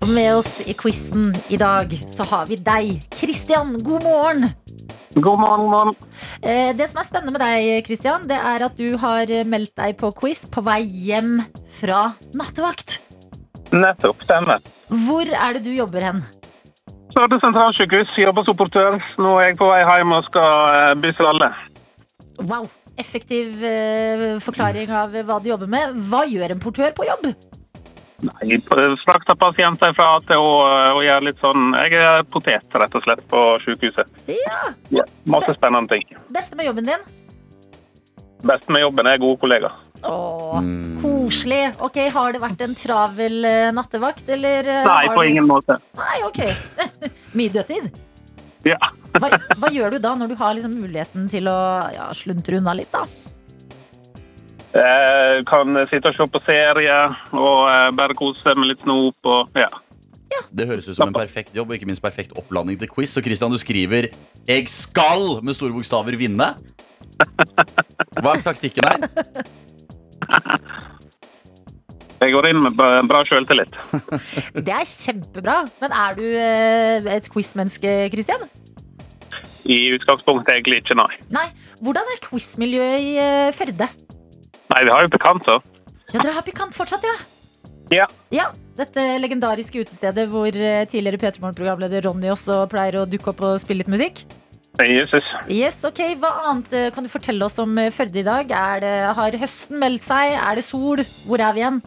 S3: Og med oss i quizen i dag så har vi deg, Kristian. God morgen!
S7: God morgen, god morgen.
S3: Eh, Det som er spennende med deg, Kristian, det er at du har eh, meldt deg på quiz på vei hjem fra nattevakt.
S7: Nettopp, stemmer.
S3: Hvor er det du jobber hen?
S7: Større sentralsykehus, jobber supportør. Nå er jeg på vei hjem og skal eh, bysse alle.
S3: Wow, effektiv eh, forklaring av hva du jobber med. Hva gjør en portør på jobb?
S7: Jeg eh, frakter pasienter fra A til Å eh, og gjør litt sånn Jeg er potet, rett og slett, på sykehuset.
S3: Ja,
S7: Masse spennende ting.
S3: Beste med jobben din?
S7: Best med jobben er gode kollegaer.
S3: Åh,
S4: Mm.
S7: Mm.
S3: koselig. Ok, Har det vært en travel eh, nattevakt, eller? eh,
S7: Nei,
S3: har
S7: på
S3: du-
S7: ingen måte.
S3: Nei, ok. Mye dødtid.
S7: Ja.
S3: Hva, hva gjør du da, når du har liksom muligheten til å ja, sluntre unna litt, da?
S7: Jeg Eh, kan sitte og se på serie og eh, bare kose med litt snop og ja.
S4: Det høres ut som en perfekt jobb, og ikke minst perfekt opplanding til quiz. Så Christian, du skriver 'Jeg skal' med store bokstaver vinne. Hva er taktikken her?
S7: Jeg går inn med b- bra sjøltillit.
S3: Det er kjempebra. Men er du eh, et quizmenneske, Kristian?
S7: I utgangspunktet egentlig ikke, nei.
S3: Nei. Hvordan er quizmiljøet i eh, Førde?
S7: Nei, vi har jo pikanter.
S3: Ja, Dere har pikant fortsatt, ja?
S7: Ja.
S3: Ja, Dette legendariske utestedet hvor eh, tidligere P3 Morgen-programleder Ronny også pleier å dukke opp og spille litt musikk.
S7: Jesus.
S3: Yes, ok. Hva annet eh, kan du fortelle oss om eh, Førde i dag? Er det, har høsten meldt seg? Er det sol? Hvor er vi igjen?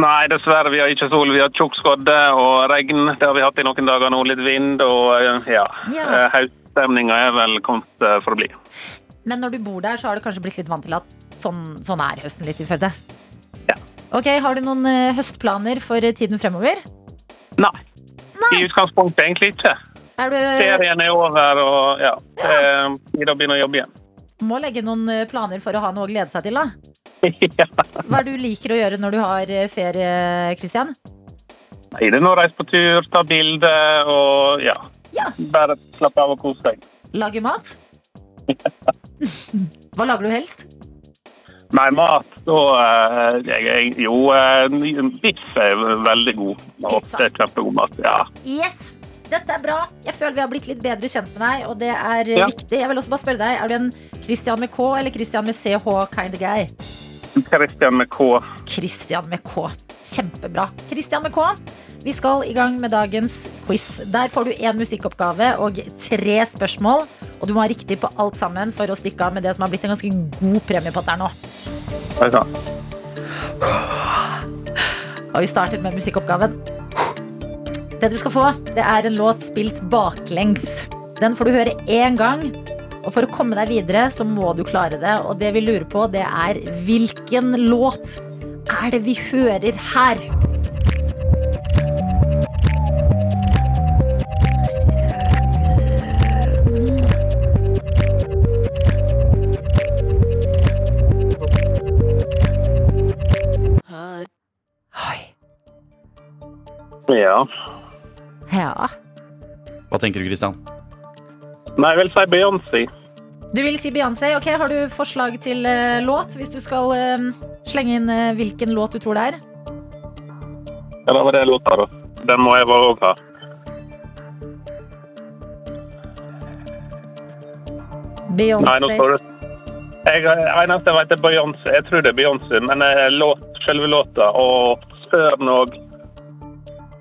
S7: Nei, dessverre. Vi har ikke sol. Vi har tjukk skodde og regn. Det har vi hatt i noen dager nå. Litt vind og eh, ja.
S3: Ja.
S7: Eh, Høststemninga er vel kommet eh, for å bli.
S3: Men når du bor der, så har du kanskje blitt litt vant til at sånn, sånn er høsten litt i Førde?
S7: Ja.
S3: Ok, Har du noen eh, høstplaner for eh, tiden fremover?
S7: Nei. I utgangspunktet egentlig ikke.
S3: Er du eh,
S7: Ferien er over og ja. Eh, Vi da begynner å jobbe igjen.
S3: må legge noen eh, planer for å ha noe å glede seg til, da?
S7: Ja.
S3: Hva er det du liker å gjøre når du har eh, ferie, Kristian?
S7: Nei, det er nå å reise på tur, ta bilder og ja.
S3: Ja.
S7: Bare slappe av og kose deg.
S3: Lage mat? Hva lager du helst?
S7: Nei, mat så eh, jeg, jeg, Jo, eh, biff er veldig god.
S3: Pizza.
S7: Ofte kjempegod mat. Ja.
S3: Yes! Dette er bra. Jeg føler vi har blitt litt bedre kjent med deg, og det er eh,
S7: Ja.
S3: viktig. Jeg vil også bare spørre deg, er du en Kristian med K eller Kristian med CH kind of guy?
S7: Christian med K.
S3: Kristian med K. Kjempebra. Kristian med K. Vi skal i gang med dagens quiz. Der får du én musikkoppgave og tre spørsmål. Og du må ha riktig på alt sammen for å stikke av med det som har blitt en ganske god premiepott her nå.
S7: Er det sant?
S3: Og vi starter med musikkoppgaven. Det du skal få, det er en låt spilt baklengs. Den får du høre én gang, Og for å komme deg videre, så må du klare det. Og det vi lurer på, det er hvilken låt er det vi hører her?
S7: Ja.
S3: Ja.
S4: Hva tenker du, Christian?
S7: Nei, jeg vil si Beyoncé.
S3: Du vil si Beyoncé. Ok, Har du forslag til eh, låt? Hvis du skal eh, slenge inn eh, hvilken låt du tror det er?
S7: Eller var det låta, da? Den må jeg bare òg ha. Nei, nå
S3: Beyoncé.
S7: står det jeg, Eneste jeg vet, er Beyoncé. Jeg tror det er Beyoncé, men eh, låt, selve låta og søren òg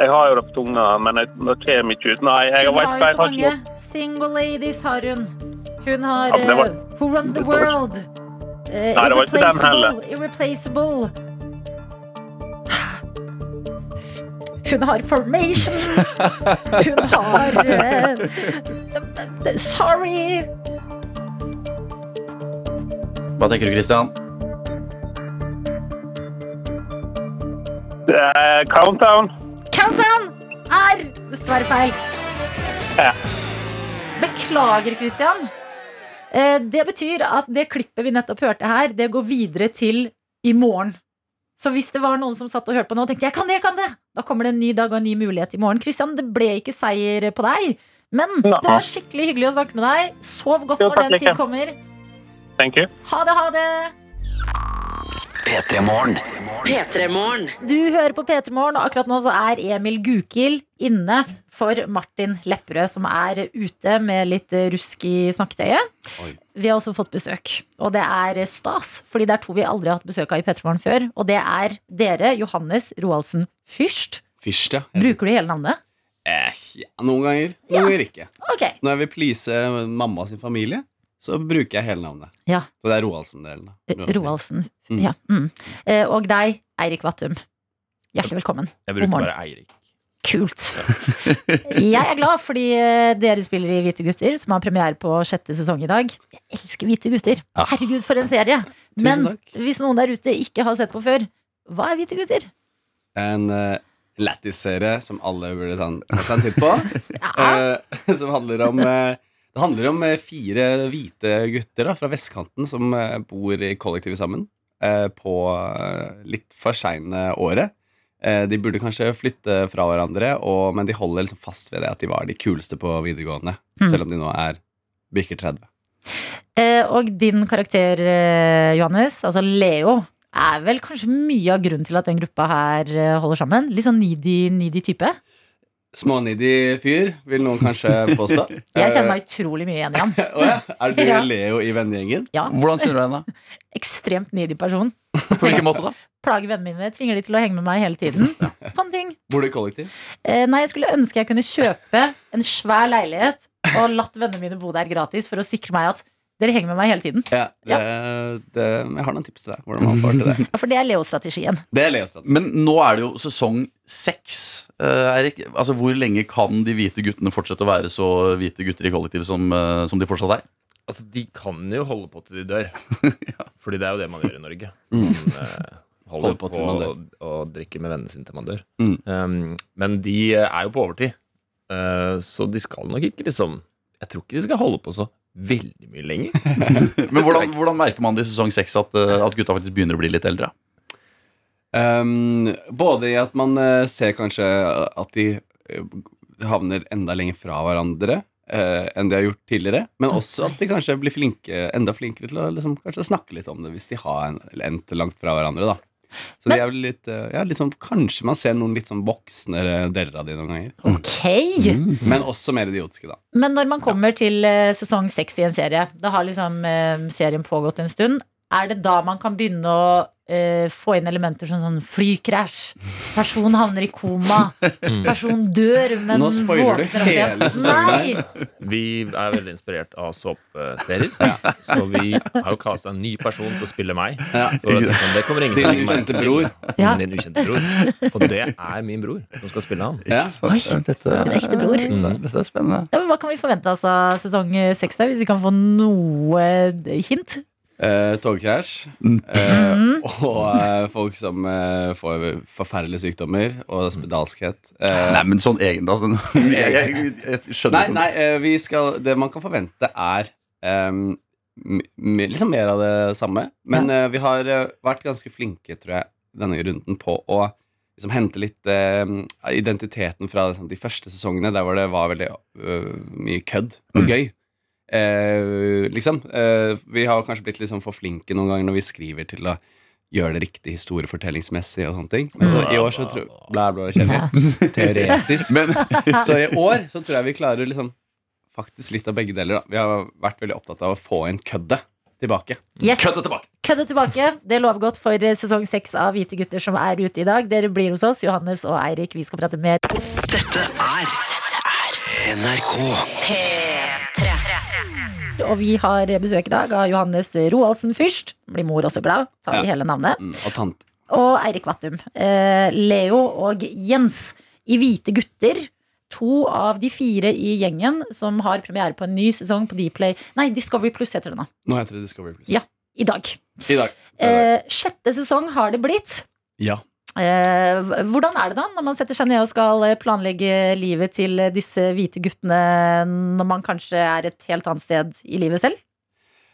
S7: Jeg har jo det på tunga, men jeg, nå kommer ikke ut. Nei, jeg
S3: Hun
S7: vet
S3: har jo
S7: ikke. Jeg
S3: så
S7: har ikke
S3: mange. Single Ladies har hun. Hun har
S7: Ja, men det var-
S3: eh, Who Run The World. Eh,
S7: Nei, det var ikke den heller.
S3: Irreplaceable, Irreplaceable. Hun har Formation. Hun har eh, Sorry.
S4: Hva tenker du, Christian?
S7: noe. Eh, Countdown.
S3: Countdown er dessverre feil.
S7: Ja.
S3: Beklager, Christian. Eh, Det betyr at det klippet vi nettopp hørte her, det går videre til i morgen. Så hvis det var noen som satt og hørte på nå og tenkte jeg kan det, jeg kan det, da kommer det en ny dag og en ny mulighet i morgen. Christian, det ble ikke seier på deg, men
S7: Nei.
S3: det var skikkelig hyggelig å snakke med deg. Sov godt
S7: Jo,
S3: når
S7: takk
S3: den tid
S7: like.
S3: kommer.
S7: Thank you.
S3: Ha det, ha det.
S2: P3 Morgen.
S6: P3 Morgen.
S3: Du hører på P3 Morgen, og akkurat nå så er Emil Gukild inne for Martin Lepperød, som er ute med litt rusk i snakketøyet.
S4: Oi.
S3: Vi har også fått besøk, og det er stas, fordi det er to vi aldri har hatt besøk av i P3 Morgen før. Og det er dere, Johannes Roaldsen Fyrst.
S8: Fyrst, ja.
S3: Bruker du hele navnet?
S8: Eh, ja. Noen ganger, noen ganger ikke.
S3: Ok.
S8: Når jeg vil please
S4: eh,
S8: mamma sin familie, så bruker jeg hele navnet.
S3: Ja. Eh,
S8: Så det er Roaldsen-delen. da.
S3: Roaldsen.
S8: Mm.
S3: Ja. Mm. Eh, Og deg, Eirik Vattum. Hjertelig velkommen.
S9: Jeg
S3: God
S9: bruker
S3: morgen.
S9: bare Eirik.
S3: Kult. Jeg er glad fordi eh, dere spiller i Hvite gutter, som har premiere på sjette sesong i dag. Jeg elsker Hvite gutter.
S8: Ah.
S3: Herregud, for en serie.
S8: Tusen
S3: Men
S8: takk.
S3: hvis noen der ute ikke har sett på før, hva er Hvite gutter?
S8: En uh, lættis-serie som alle burde ta en- ta seg en titt på.
S3: Ja.
S8: eh, som handler om eh, Det handler om eh, fire hvite gutter da, fra vestkanten som eh, bor i kollektivet sammen eh, på eh, litt for seine året. Eh, de burde kanskje flytte fra hverandre, og, men de holder liksom fast ved det at de var de kuleste på videregående,
S3: Mm.
S8: selv om de nå er bikker 30.
S3: Eh, Og din karakter, eh, Johannes, altså Leo, er vel kanskje mye av grunnen til at den gruppa her eh, holder sammen? Litt sånn needy, needy type.
S8: Smånidig fyr, vil noen kanskje påstå.
S3: Jeg kjenner meg utrolig mye igjen i han.
S8: Eh, åja, Er du
S3: Ja.
S8: Leo i vennegjengen?
S4: Hvordan kjenner du henne?
S3: Ekstremt needy person.
S4: På hvilken måte da?
S3: Plager vennene mine, tvinger de til å henge med meg hele tiden. Sånne ting.
S8: Bor du i kollektiv?
S3: Eh, nei, jeg skulle ønske jeg kunne kjøpe en svær leilighet og latt vennene mine bo der gratis for å sikre meg at dere henger med meg hele tiden.
S8: Ja, det, Det, jeg har noen tips til deg. Hvordan man får til det.
S3: Ja, For det er Leo-strategien.
S8: Det er altså. Leos strategi.
S4: Men nå er det jo sesong seks. eh, Eirik, altså, hvor lenge kan de hvite guttene fortsette å være så hvite gutter i kollektivet som, eh, som de fortsatt er?
S9: Altså, de kan jo holde på til de dør. Fordi det er jo det man gjør i Norge.
S8: Mm.
S9: Man, eh, holder
S8: Holder på
S9: på,
S8: til man dør.
S9: og, og drikker med vennene sine til man dør.
S8: Mm.
S9: Um, men de er jo på overtid, Eh, så de skal nok ikke liksom Jeg tror ikke de skal holde på så veldig mye lenger.
S4: Men hvordan, hvordan merker man det i sesong seks at, eh, at gutta faktisk begynner å bli litt eldre?
S8: Um, både i at man eh, ser kanskje at de eh, havner enda lenger fra hverandre eh, enn de har gjort tidligere, men også at de kanskje blir flinke, enda flinkere til å liksom, kanskje snakke litt om det hvis de har en, eller endt langt fra hverandre. da så de er vel litt, eh, ja, litt sånn, Kanskje man ser noen litt sånn voksnere deler av de noen ganger.
S3: Ok!
S8: Men også mer idiotiske, da.
S3: Men når man kommer til eh, sesong seks i en serie, da har liksom eh, serien pågått en stund, er det da man kan begynne å eh, eh, få inn elementer som sånn flykrasj, person havner i koma, person dør, men
S8: Nå spoiler du
S3: våkner opp igjen.
S8: hele sesongen
S3: Nei!
S9: Vi er veldig inspirert av såpeserier, så vi har jo kasta en ny person til å spille meg. For at, liksom, det kommer ingen til å
S8: Din
S9: legge merke
S8: ukjente
S9: til.
S8: bror.
S3: Ja.
S9: Din ukjente bror. Og det er min bror som skal spille han. Mm.
S8: Ja.
S4: Oi, dette,
S3: En ekte bror.
S4: dette er spennende.
S3: Ja, men hva kan vi forvente oss av sesong eh, seks, da, hvis vi kan få noe hint?
S8: Eh, togkrasj. Eh, og eh, folk som eh, får forferdelige sykdommer og spedalskhet. Eh,
S4: Nei, men sånn egen, altså, jeg, jeg, jeg skjønner
S8: nei,
S4: ikke
S8: nei eh, vi skal, det man kan forvente, er ehm, m- m- liksom mer av det samme. Men eh, vi har eh, vært ganske flinke, tror jeg, denne runden på å liksom, hente litt eh, identiteten fra liksom, de første sesongene, der hvor det var veldig øh, mye kødd
S4: Mm.
S8: og gøy. Eh, liksom eh, Vi har kanskje blitt liksom for flinke noen ganger når vi skriver til å gjøre det riktig historiefortellingsmessig. og sånne ting Men
S4: Mm.
S8: så, i år så tror Bla, bla, kjenner jeg. Teoretisk.
S4: Men
S8: Så i år så tror jeg vi klarer liksom faktisk litt av begge deler. Da. Vi har vært veldig opptatt av å få inn køddet tilbake.
S3: Yes.
S4: kødda tilbake!
S3: Kødde tilbake. Det lover godt for eh, sesong seks av Hvite gutter som er ute i dag. Dere blir hos oss, Johannes og Eirik. Vi skal prate mer.
S2: Dette er Dette er NRK.
S3: Og vi har besøk i dag av Johannes Roaldsen Fyrst. Blir mor også glad, sa vi
S8: Ja.
S3: hele navnet.
S8: Mm, og tante.
S3: Og Eirik Vattum. Eh, Leo og Jens i Hvite gutter. To av de fire i gjengen som har premiere på en ny sesong på Dplay Nei, Discovery Pluss heter den nå.
S8: Nå heter det Discovery Plus.
S3: Ja. I dag.
S8: I dag.
S3: Eh, sjette sesong har det blitt.
S8: Ja.
S3: Eh, h- hvordan er det da når man setter seg ned og skal eh, planlegge livet til eh, disse hvite guttene når man kanskje er et helt annet sted i livet selv?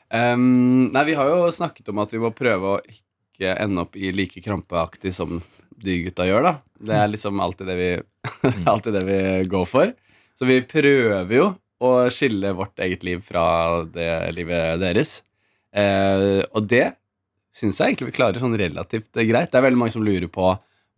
S8: Ehm, nei, vi har jo snakket om at vi må prøve å ikke ende opp i like krampeaktig som de gutta gjør, da. Det er liksom alltid det vi, alltid det vi går for. Så vi prøver jo å skille vårt eget liv fra det livet deres. Eh, og det syns jeg egentlig vi klarer sånn relativt eh, greit. Det er veldig mange som lurer på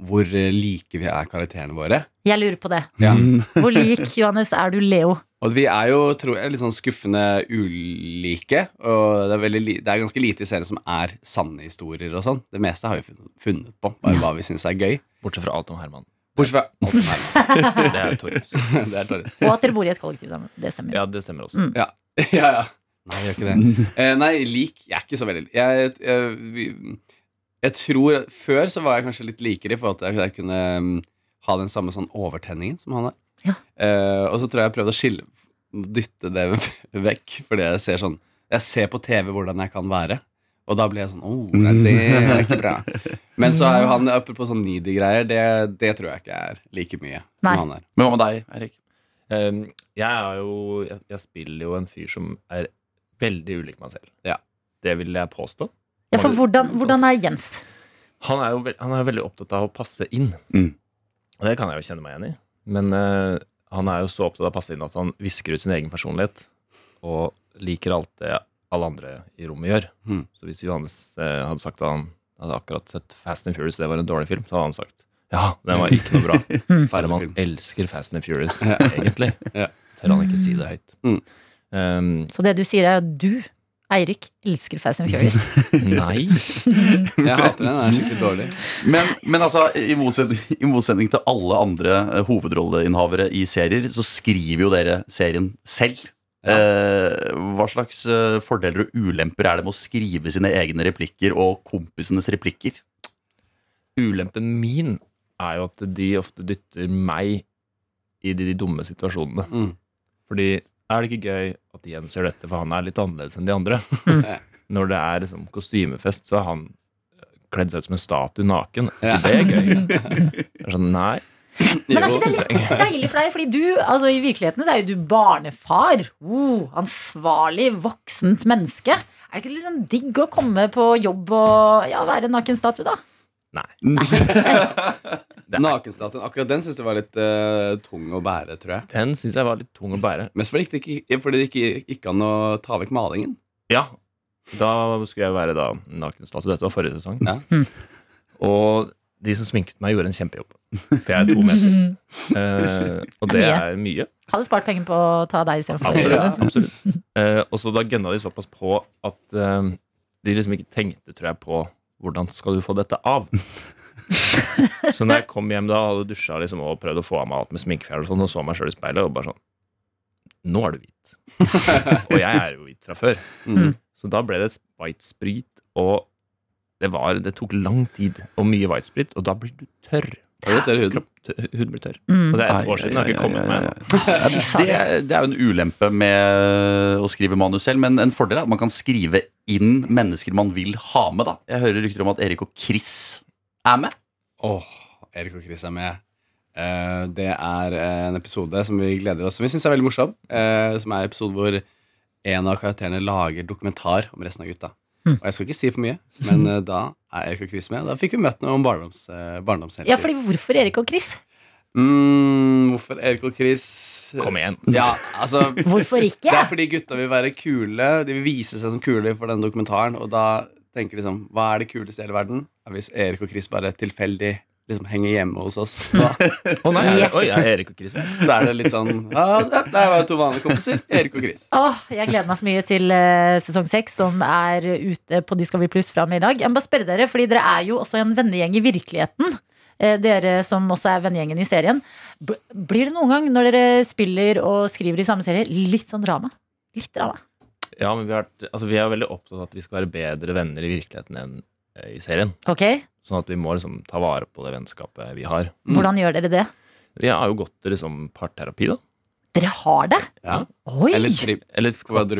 S8: hvor eh, like vi er karakterene våre.
S3: Jeg lurer på det.
S8: Ja.
S3: Hvor lik, Johannes, er du Leo?
S8: Og vi er jo tror jeg, litt sånn skuffende ulike. Og det er, veldig, li- det er ganske lite i serien som er sanne historier og sånn. Det meste har vi funnet, funnet på. Bare hva vi syns er gøy.
S9: Bortsett fra Alton Herman.
S8: Bortsett fra alt det her.
S9: Det er Torjus.
S8: Det er Torje.
S3: Og at dere bor i et kollektiv sammen. Det stemmer.
S9: Ja, det stemmer også.
S8: Ja, ja. Nei, jeg gjør ikke det. Eh, nei, lik Jeg er ikke så veldig lik. Jeg, jeg, vi- jeg tror at Før så var jeg kanskje litt likere i forhold til at jeg kunne mm, ha den samme sånn overtenningen som han har.
S3: Ja.
S8: Eh, og så tror jeg jeg prøvde å skille dytte det vekk, fordi jeg ser sånn Jeg ser på TV hvordan jeg kan være. Og da blir jeg sånn oh, nei, det er ikke bra. Men så er jo han oppe på sånn needy-greier. Det, det tror jeg ikke er like mye
S3: Nei.
S8: som han er.
S4: Men hva med deg, Erik?
S9: Um, jeg er jo jeg, jeg spiller jo en fyr som er veldig ulik meg selv.
S8: Ja.
S9: Det vil jeg påstå.
S3: Ja, for hvordan, hvordan er Jens?
S9: Han er jo veld, han er veldig opptatt av å passe inn.
S4: Mm.
S9: Og det kan jeg jo kjenne meg igjen i. Men eh, han er jo så opptatt av å passe inn at han visker ut sin egen personlighet. Og liker alt det alle andre i rommet gjør.
S8: Mm.
S9: Så hvis Johannes eh, hadde sagt at han hadde akkurat sett Fast and Furious, det var en dårlig film, så hadde han sagt ja, den var ikke noe bra. Ferman
S8: Film.
S9: elsker Fast and Furious, egentlig.
S8: Ja.
S9: Tør han ikke si det høyt.
S8: Mm.
S9: Um,
S3: Så det du sier, er at du, Eirik, elsker Fast and Furious.
S9: Ehm, Nei.
S8: Jeg hater den. Den er skikkelig dårlig.
S4: Men, men altså, i motsetning, i motsetning til alle andre eh, hovedrolleinnehavere i serier, så skriver jo dere serien selv. Eh, hva slags eh, fordeler og ulemper er det med å skrive sine egne replikker og kompisenes replikker?
S9: Ulempen min er jo at de ofte dytter meg i de, de dumme situasjonene.
S8: Mm.
S9: Fordi er det ikke gøy at Jens gjør dette, for han er litt annerledes enn de andre? Når det er liksom, kostymefest, så er han eh, kledd seg ut som en statue naken.
S8: Ja.
S9: Det er gøy. Det er sånn, nei.
S3: Men er ikke det litt deilig for deg? Fordi du, altså i virkeligheten så er jo du barnefar. Oh, ansvarlig, voksent menneske. Er det ikke litt sånn digg å komme på jobb og ja, være en naken statue, da?
S9: Det er-
S8: Nakenstatuen. Akkurat den syns jeg var litt eh, tung å bære, tror jeg.
S9: Den syns jeg var litt tung å bære.
S8: Mest fordi det ikke, fordi det ikke gikk an å ta vekk malingen.
S9: Ja, da skulle jeg være da nakenstatue. Dette var forrige sesong.
S8: Ja.
S9: Og de som sminket meg, gjorde en kjempejobb. For jeg er to meter. Eh, og det
S3: mye.
S9: er mye.
S3: Hadde spart penger på å ta deg istedenfor.
S9: Absolutt.
S3: Ja.
S9: absolutt. Eh, og så da gønna de såpass på at eh, de liksom ikke tenkte, tror jeg, på Hvordan skal du få dette av? så når jeg kom hjem da, hadde dusja liksom, og prøvd å få av meg alt med sminkefjær og sånn, og så meg sjøl i speilet og bare sånn Nå er du hvit. og jeg er jo hvit fra før.
S8: Mm.
S9: Så da ble det white sprit, og det, var, det tok lang tid og mye white sprit, og da blir du tørr.
S8: Da blir du tørr i huden.
S9: Kropp, tørr- huden blir tørr.
S3: Mm.
S9: Og det er
S4: Ai,
S9: et år siden. Det har ikke
S4: ai,
S9: kommet
S4: ai,
S9: med
S4: ai,
S9: ennå.
S4: Det, det er jo en ulempe med å skrive manus selv, men en fordel er at man kan skrive inn mennesker man vil ha med. da Jeg hører rykter om at Erik og Chris er med.
S8: Åh, Erik og Chris er med. Eh, det er eh, en episode som vi gleder oss Som vi syns er veldig morsom. eh, som er en episode hvor en av karakterene lager dokumentar om resten av gutta.
S3: Hm.
S8: Og jeg skal ikke si for mye, men eh, da er Erik og Chris med. Da fikk vi møtt noe om barndoms, eh, barndomshelter.
S3: Ja, fordi hvorfor Erik og Chris?
S8: mm, hvorfor Erik og Chris
S9: Kom igjen.
S8: Ja, altså
S3: Hvorfor ikke?
S8: Det er fordi gutta vil være kule. De vil vise seg som kule for den dokumentaren. Og da tenker de sånn Hva er det kuleste i hele verden? Ja, Hvis Erik og Chris bare tilfeldig liksom henger hjemme hos oss, da,
S9: Å nei, er det-
S3: Yes.
S9: oi, er Erik og Chris her?
S8: så er det litt sånn Ja, det det var jo to vanlige kompiser. Erik og Chris.
S3: Åh, jeg gleder meg så mye til eh, sesong 6 Som er ute på Discovery Plus fra og med i dag Jeg må bare spørre dere, fordi dere er jo også en vennegjeng i virkeligheten Eh, Dere som også er vennegjengen i serien B Blir det noen gang når dere spiller og skriver i samme serie Litt sånn drama? Litt drama
S9: Ja, men vi, har, vært- altså, vi er veldig opptatt av at vi skal være bedre venner i virkeligheten enn eh, i serien.
S3: Ok,
S9: Sånn at vi må liksom ta vare på det vennskapet vi har.
S8: Mm.
S3: hvordan gjør dere det?
S9: Vi har jo gått til liksom parterapi, da.
S3: Dere har det?
S8: Ja.
S3: Oi!
S8: Eller tripp
S9: Eller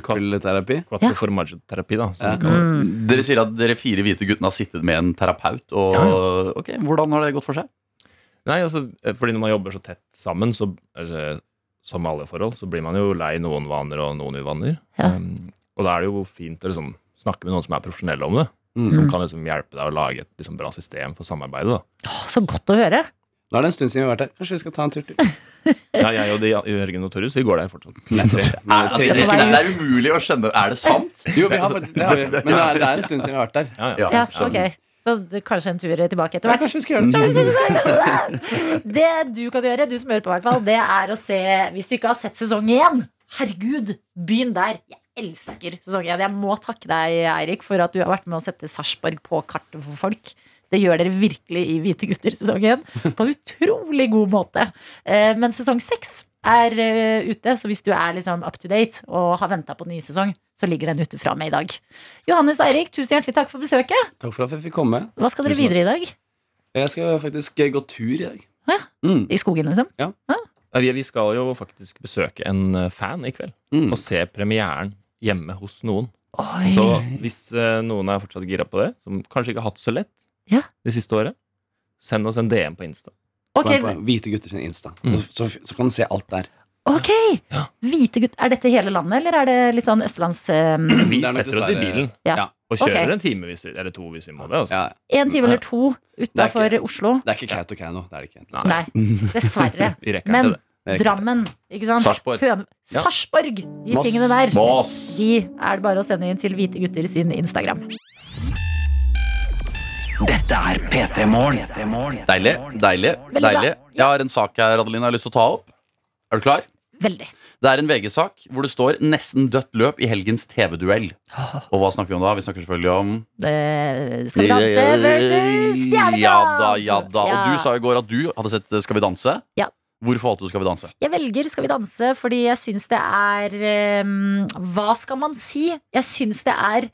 S8: kvadrupelterapi.
S3: Ja.
S9: quattroformaggio-terapi, da. Som
S8: Ja.
S9: vi kaller det.
S3: Mm.
S4: Dere sier at dere fire hvite guttene har sittet med en terapeut. Og, ok, Hvordan har det gått for seg?
S9: Nei, altså, eh, fordi når man jobber så tett sammen, så, altså, som alle forhold, så blir man jo lei noen vaner og noen uvaner.
S3: Ja.
S9: Um, og da er det jo fint å liksom snakke med noen som er profesjonelle om det.
S8: Mm.
S9: Som kan liksom hjelpe deg å lage et liksom, bra system for samarbeidet. Da.
S3: Åh, så godt å høre
S8: Nå er det en stund siden vi har vært her. Kanskje vi skal ta en tur til?
S9: Ja, jeg og de, Jørgen og Torjus, vi går der fortsatt. Vi er tre.
S4: Er, altså, det, det, det er umulig å skjønne. Er det sant?
S8: Jo, vi har faktisk det. Har vi. Men det er, det er en stund siden vi har vært der.
S9: Ja, ja.
S4: Ja.
S3: Ja, ok så det, kanskje en tur tilbake etter
S8: Ja,
S3: hvert
S8: kanskje vi skal gjøre det.
S3: Det du kan gjøre, du som hører på i hvert fall, det er å se Hvis du ikke har sett sesong én, herregud, begynn der. Jeg elsker sesong én. Jeg må takke deg, Eirik, for at du har vært med å sette Sarpsborg på kartet for folk. Det gjør dere virkelig i Hvite gutter sesong én, på en utrolig god måte. Eh, Men sesong seks er eh, ute, så hvis du er liksom up to date og har venta på ny sesong, så ligger den ute fra meg i dag. Johannes og Eirik, tusen hjertelig takk for besøket.
S8: Takk for at jeg fikk komme.
S3: Hva skal dere
S8: Tusen takk.
S3: videre i dag?
S8: Jeg skal faktisk eh, gå tur i dag.
S3: Å ja.
S8: Mm.
S3: I skogen, liksom?
S9: Nei, Vi, vi skal jo faktisk besøke en eh, fan i kveld,
S8: Mm.
S9: og se premieren hjemme hos noen.
S3: Oi.
S9: Så hvis eh, noen er fortsatt gira på det, som kanskje ikke har hatt det så lett
S3: Ja.
S9: det siste året, send oss en DM på Insta.
S3: Ok,
S8: Gå inn på Hvite gutter sin Insta.
S9: Mm.
S8: Så, så, så kan du se alt der.
S3: ok Hvite gutt, Er dette hele landet, eller er det litt sånn østlands ehm,
S9: Vi
S8: Det er nok
S9: setter oss i
S8: dessverre-
S9: bilen
S3: Ja.
S8: Ja.
S9: og kjører
S3: Ok.
S9: en time hvis vi, eller to hvis vi må det. Altså.
S8: Ja,
S3: En time eller to utafor
S8: Det er
S3: Oslo?
S8: Det er ikke Kautokeino. Det er det ikke.
S9: Nei.
S3: Nei, dessverre.
S9: Vi rekker
S3: Men
S9: ikke det.
S8: Det er ikke
S3: Drammen, ikke sant?
S4: Sarpsborg.
S3: Høne-
S9: Ja.
S3: Sarpsborg! De
S8: Moss.
S3: tingene der.
S4: Mås!
S3: De er det bare å sende inn til Hvite gutter sin Instagram.
S2: Dette er P3 Morgen.
S4: Deilig. Deilig.
S3: Veldig bra.
S4: deilig Jeg har en sak her Adeline, jeg har lyst til å ta opp. Er du klar?
S3: Veldig.
S4: Det er en VG-sak hvor det står 'nesten dødt løp i helgens TV-duell'. Og hva snakker vi om da? Vi snakker selvfølgelig om
S3: Eh, skal vi danse versus Stjernekamp?
S4: Ja da, ja da.
S3: Ja.
S4: Og du sa i går at du hadde sett eh, Skal vi danse.
S3: Ja.
S4: Hvorfor valgte du Skal vi danse?
S3: Jeg velger Skal vi danse fordi jeg syns det er ehm, Hva skal man si? Jeg syns det er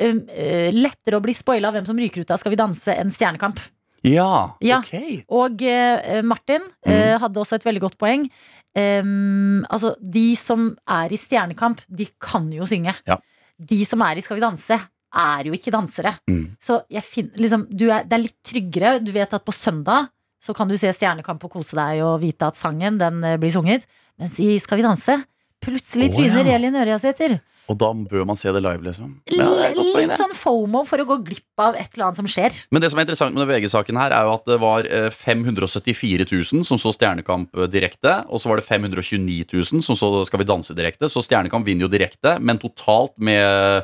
S3: ehm, eh, lettere å bli spoila av hvem som ryker ut av Skal vi danse enn Stjernekamp.
S4: Ja,
S3: Ja.
S4: ok.
S3: Og eh, Martin
S4: Mhm.
S3: eh, hadde også et veldig godt poeng. Ehm, altså, de som er i Stjernekamp, de kan jo synge.
S4: Ja.
S3: De som er i Skal vi danse, er jo ikke dansere.
S4: Mm.
S3: Så jeg fin- liksom, du er, det er litt tryggere. Du vet at på søndag så kan du se Stjernekamp og kose deg og vite at sangen den eh, blir sunget. Mens i Skal vi danse plutselig
S4: Å,
S3: tryner
S4: ja.
S3: Elin Ørjasæter.
S4: Og da bør man se det live, liksom. Ja, det er et godt poeng,
S3: Litt
S4: det.
S3: sånn fomo for å gå glipp av et eller annet som skjer.
S4: Men det som er interessant med den VG-saken her, er jo at det var eh, 574 000 som så Stjernekamp eh, direkte, og så var det 529 000 som så Skal vi danse direkte. Så Stjernekamp vinner jo direkte, men totalt med eh,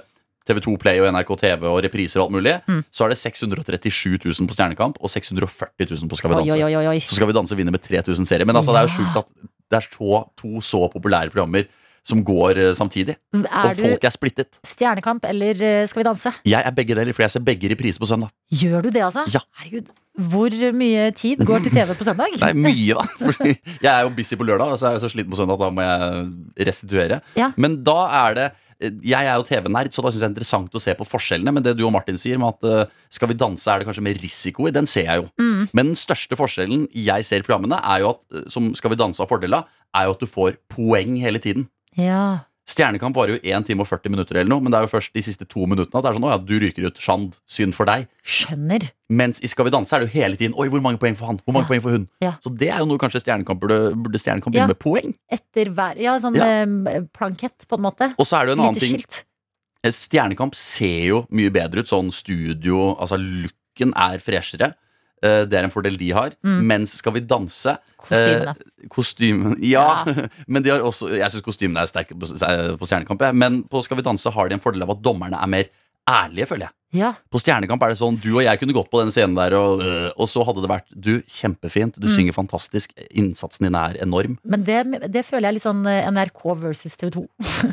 S4: TV2 Play og NRK TV og repriser og alt mulig,
S3: Mm.
S4: så er det 637 000 på Stjernekamp og 640 000 på Skal vi
S3: Oi,
S4: danse.
S3: oi, oi, oi.
S4: Så Skal vi danse vinner med 3000 serier. Men altså, det er jo sjukt at det er så, to så populære programmer som går eh, samtidig.
S3: Er
S4: og
S3: du
S4: folk er splittet.
S3: Stjernekamp eller eh, Skal vi danse?
S4: Jeg er begge deler, for jeg ser begge repriser på søndag.
S3: Gjør du det, altså?
S4: Ja.
S3: Herregud, hvor mye tid går til TV på søndag?
S4: Det er mye, da. Fordi jeg er jo busy på lørdag, og så er jeg så sliten på søndag at da må jeg restituere.
S3: Ja.
S4: Men da er det jeg er jo TV-nerd, så da synes jeg det er interessant å se på forskjellene. Men det du og Martin sier med at eh, Skal vi danse er det kanskje mer risiko i, den ser jeg jo. Men den største forskjellen jeg ser i programmene, er jo at, eh, som Skal vi danse har fordel av, er jo at du får poeng hele tiden.
S3: Ja.
S4: Stjernekamp varer jo 1 time og 40 minutter, eller noe, men det er jo først de siste to minuttene at det er sånn Å ja, du ryker ut. Sjand. Synd for deg.
S3: Skjønner.
S4: Mens i Skal vi danse er det jo hele tiden Oi, hvor mange poeng for han? Hvor mange
S3: Ja.
S4: poeng for hun?
S3: Ja.
S4: Så det er jo noe kanskje Stjernekamp burde, burde Stjernekamp
S3: Ja.
S4: begynne med poeng.
S3: Etter hver Ja, sånn
S4: Ja.
S3: eh, plankett, på en måte.
S4: Og så er det jo en annen
S3: Lite
S4: ting
S3: skilt.
S4: Stjernekamp ser jo mye bedre ut. Sånn studio Altså looken er freshere. Eh, Det er en fordel de har.
S3: Mm.
S4: Mens Skal vi danse
S3: Kostymene.
S4: eh, Kostymen Ja, men de har også Jeg syns kostymene er sterke på, på Stjernekamp, jeg. Men på Skal vi danse har de en fordel av at dommerne er mer ærlige, føler jeg.
S3: Ja.
S4: På Stjernekamp er det sånn, du og jeg kunne gått på den scenen der, og, øh, og så hadde det vært Du, kjempefint, du
S3: Mm.
S4: synger fantastisk, innsatsen din er enorm.
S3: Men det, det føler jeg er litt sånn eh, NRK versus TV 2.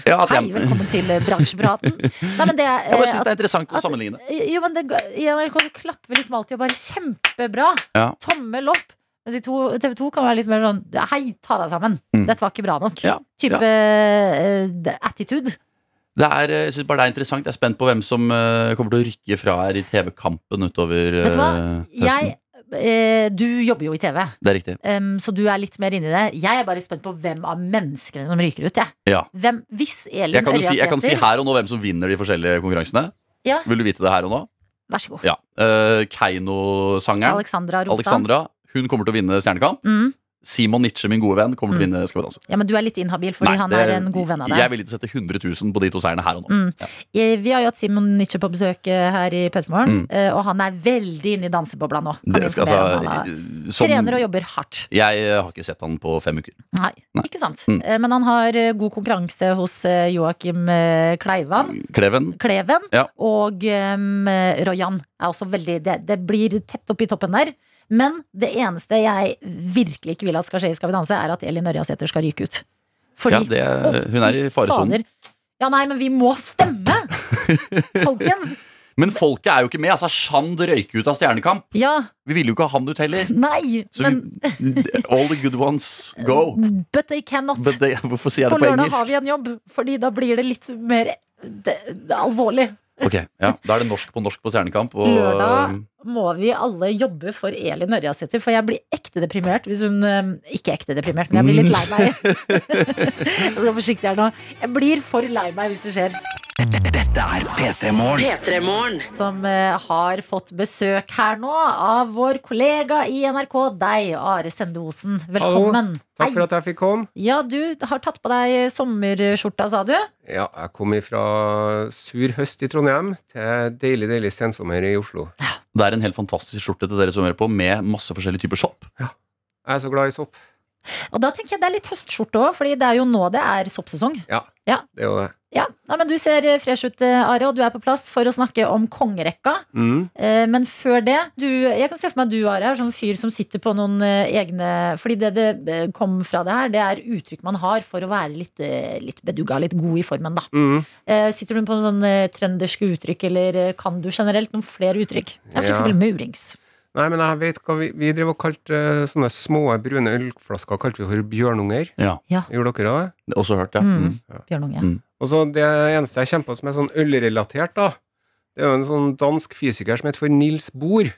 S4: Ja, at
S3: Hei,
S4: jeg, jeg
S3: velkommen til eh, bransjepraten. Nei, men det er, eh,
S4: bare syns det er interessant å
S3: at-
S4: sammenligne.
S3: at- eh, Jo, men det, går- I NRK så klapper vi liksom alltid og bare kjempebra.
S4: Ja.
S3: Tommel opp. Mens i to- TV 2 kan være litt mer sånn hei, ta deg sammen.
S4: Mm.
S3: Dette var ikke bra nok.
S4: Ja,
S3: Type eh, attitude.
S4: Det er, øh, jeg syns bare det er interessant. Jeg er spent på hvem som øh, kommer til å rykke fra her i TV-kampen utover
S3: Vet
S4: øh,
S3: du hva?
S4: høsten.
S3: Jeg, eh, du jobber jo i TV,
S4: Det er riktig.
S3: em, så du er litt mer inni det. Jeg er bare spent på hvem av menneskene som ryker ut. Jeg.
S4: Ja.
S3: Hvem, hvis Elin
S4: Jeg kan, jo si, jeg kan si
S3: Ørjasæter-
S4: her og nå hvem som vinner de forskjellige konkurransene.
S3: Ja.
S4: Vil du vite det her og nå?
S3: Vær så god.
S4: Ja. Øh, Keiino-sangeren
S3: Alexandra Rotan.
S4: Alexandra. Hun kommer til å vinne Stjernekamp.
S3: Mm.
S4: Simon Nitsche, min gode venn, kommer til å
S3: Mm.
S4: vinne Skal vi danse.
S3: Ja, men du er litt inhabil fordi
S4: Nei,
S3: han
S4: det-
S3: er en god venn av
S4: Jeg er
S3: deg.
S4: villig til å sette 100 000 på de to seierne her og nå.
S3: Mm. Eh, Vi har jo hatt Simon Nitsche på besøk eh, her i
S4: Mm.
S3: Petermorgen, eh, og han er veldig inne i dansebobla nå. Kan
S4: Det
S3: vi
S4: skal,
S3: informere om
S4: altså,
S3: han Mm. er-
S4: som,
S3: Trener og jobber hardt.
S4: Jeg eh, har ikke sett han på fem uker.
S3: Nei,
S4: Nei.
S3: ikke sant.
S4: Mm.
S3: Eh, Men han har eh, god konkurranse hos eh, Joakim eh, Kleivan.
S4: Kleven?
S3: Kleven
S4: Ja.
S3: og um, Royan er også veldig det, det blir tett opp i toppen der. Men det eneste jeg virkelig ikke vil at skal skje i Skal vi danse, er at Elin Ørjasæter skal ryke ut.
S4: Ja,
S3: Fordi
S4: det, eh, hun er i faresonen.
S3: Fader. Ja, nei, men vi må stemme! Folkens!
S4: Men folket er jo ikke med. altså Sjand røyk ut av Stjernekamp.
S3: Ja,
S4: Vi ville jo ikke ha han ut heller.
S3: nei,
S4: Så
S3: men
S4: vi, all the good ones go.
S3: But they cannot.
S4: But they, hvorfor sier jeg
S3: på
S4: det på
S3: lørdag har
S4: engelsk?
S3: vi en jobb, Fordi da blir det litt mer det, det, alvorlig.
S4: Ok, ja, Da er det norsk på norsk på Stjernekamp. Og, eh,
S3: Lørdag må vi alle jobbe for Elin Ørjasæter, for jeg blir ekte deprimert hvis hun eh, Ikke ekte deprimert, men jeg blir litt lei meg. jeg skal være forsiktig her nå. Jeg blir for lei meg hvis det skjer.
S2: Dette er P3 Morgen.
S6: P3-morgen.
S3: Som eh, har fått besøk her nå av vår kollega i NRK, deg, Are Sende Osen. Velkommen.
S10: Takk for at jeg fikk komme.
S3: Ja, du har tatt på deg sommerskjorta, sa du?
S10: Ja, jeg kom fra sur høst i Trondheim til deilig, deilig sensommer i Oslo.
S4: Det er en helt fantastisk skjorte til dere som hører på, med masse forskjellige typer sopp.
S10: Jeg er så glad i sopp.
S3: Og da tenker jeg det er litt høstskjorte òg, fordi det er jo nå det er soppsesong.
S10: Det er jo det.
S3: Ja, Nei, men Du ser eh, fresh ut, eh, Are, og du er på plass for å snakke om kongerekka.
S10: Mm.
S3: Eh, Men før det du, Jeg kan se for meg at du Are, er sånn fyr som sitter på noen eh, egne Fordi det det eh, kom fra det her, det er uttrykk man har for å være litt, eh, litt bedugga, litt god i formen, da.
S10: Mm.
S3: Eh, Sitter du på noen sånne eh, trønderske uttrykk, eller eh, kan du generelt noen flere uttrykk? Ja, for
S10: Ja.
S3: eksempel murings.
S10: Nei, men jeg vet hva vi, vi drev og kalte eh, sånne små brune ølflasker kalte vi for bjørnunger.
S4: Ja,
S10: Gjorde dere det?
S4: det er Også hørt, ja.
S3: Mm.
S4: Mm.
S3: Bjørnunge.
S4: Mm.
S10: Og så det eneste jeg kjemper som er sånn ølrelatert, da, det er jo en sånn dansk fysiker som heter for Nils Bohr.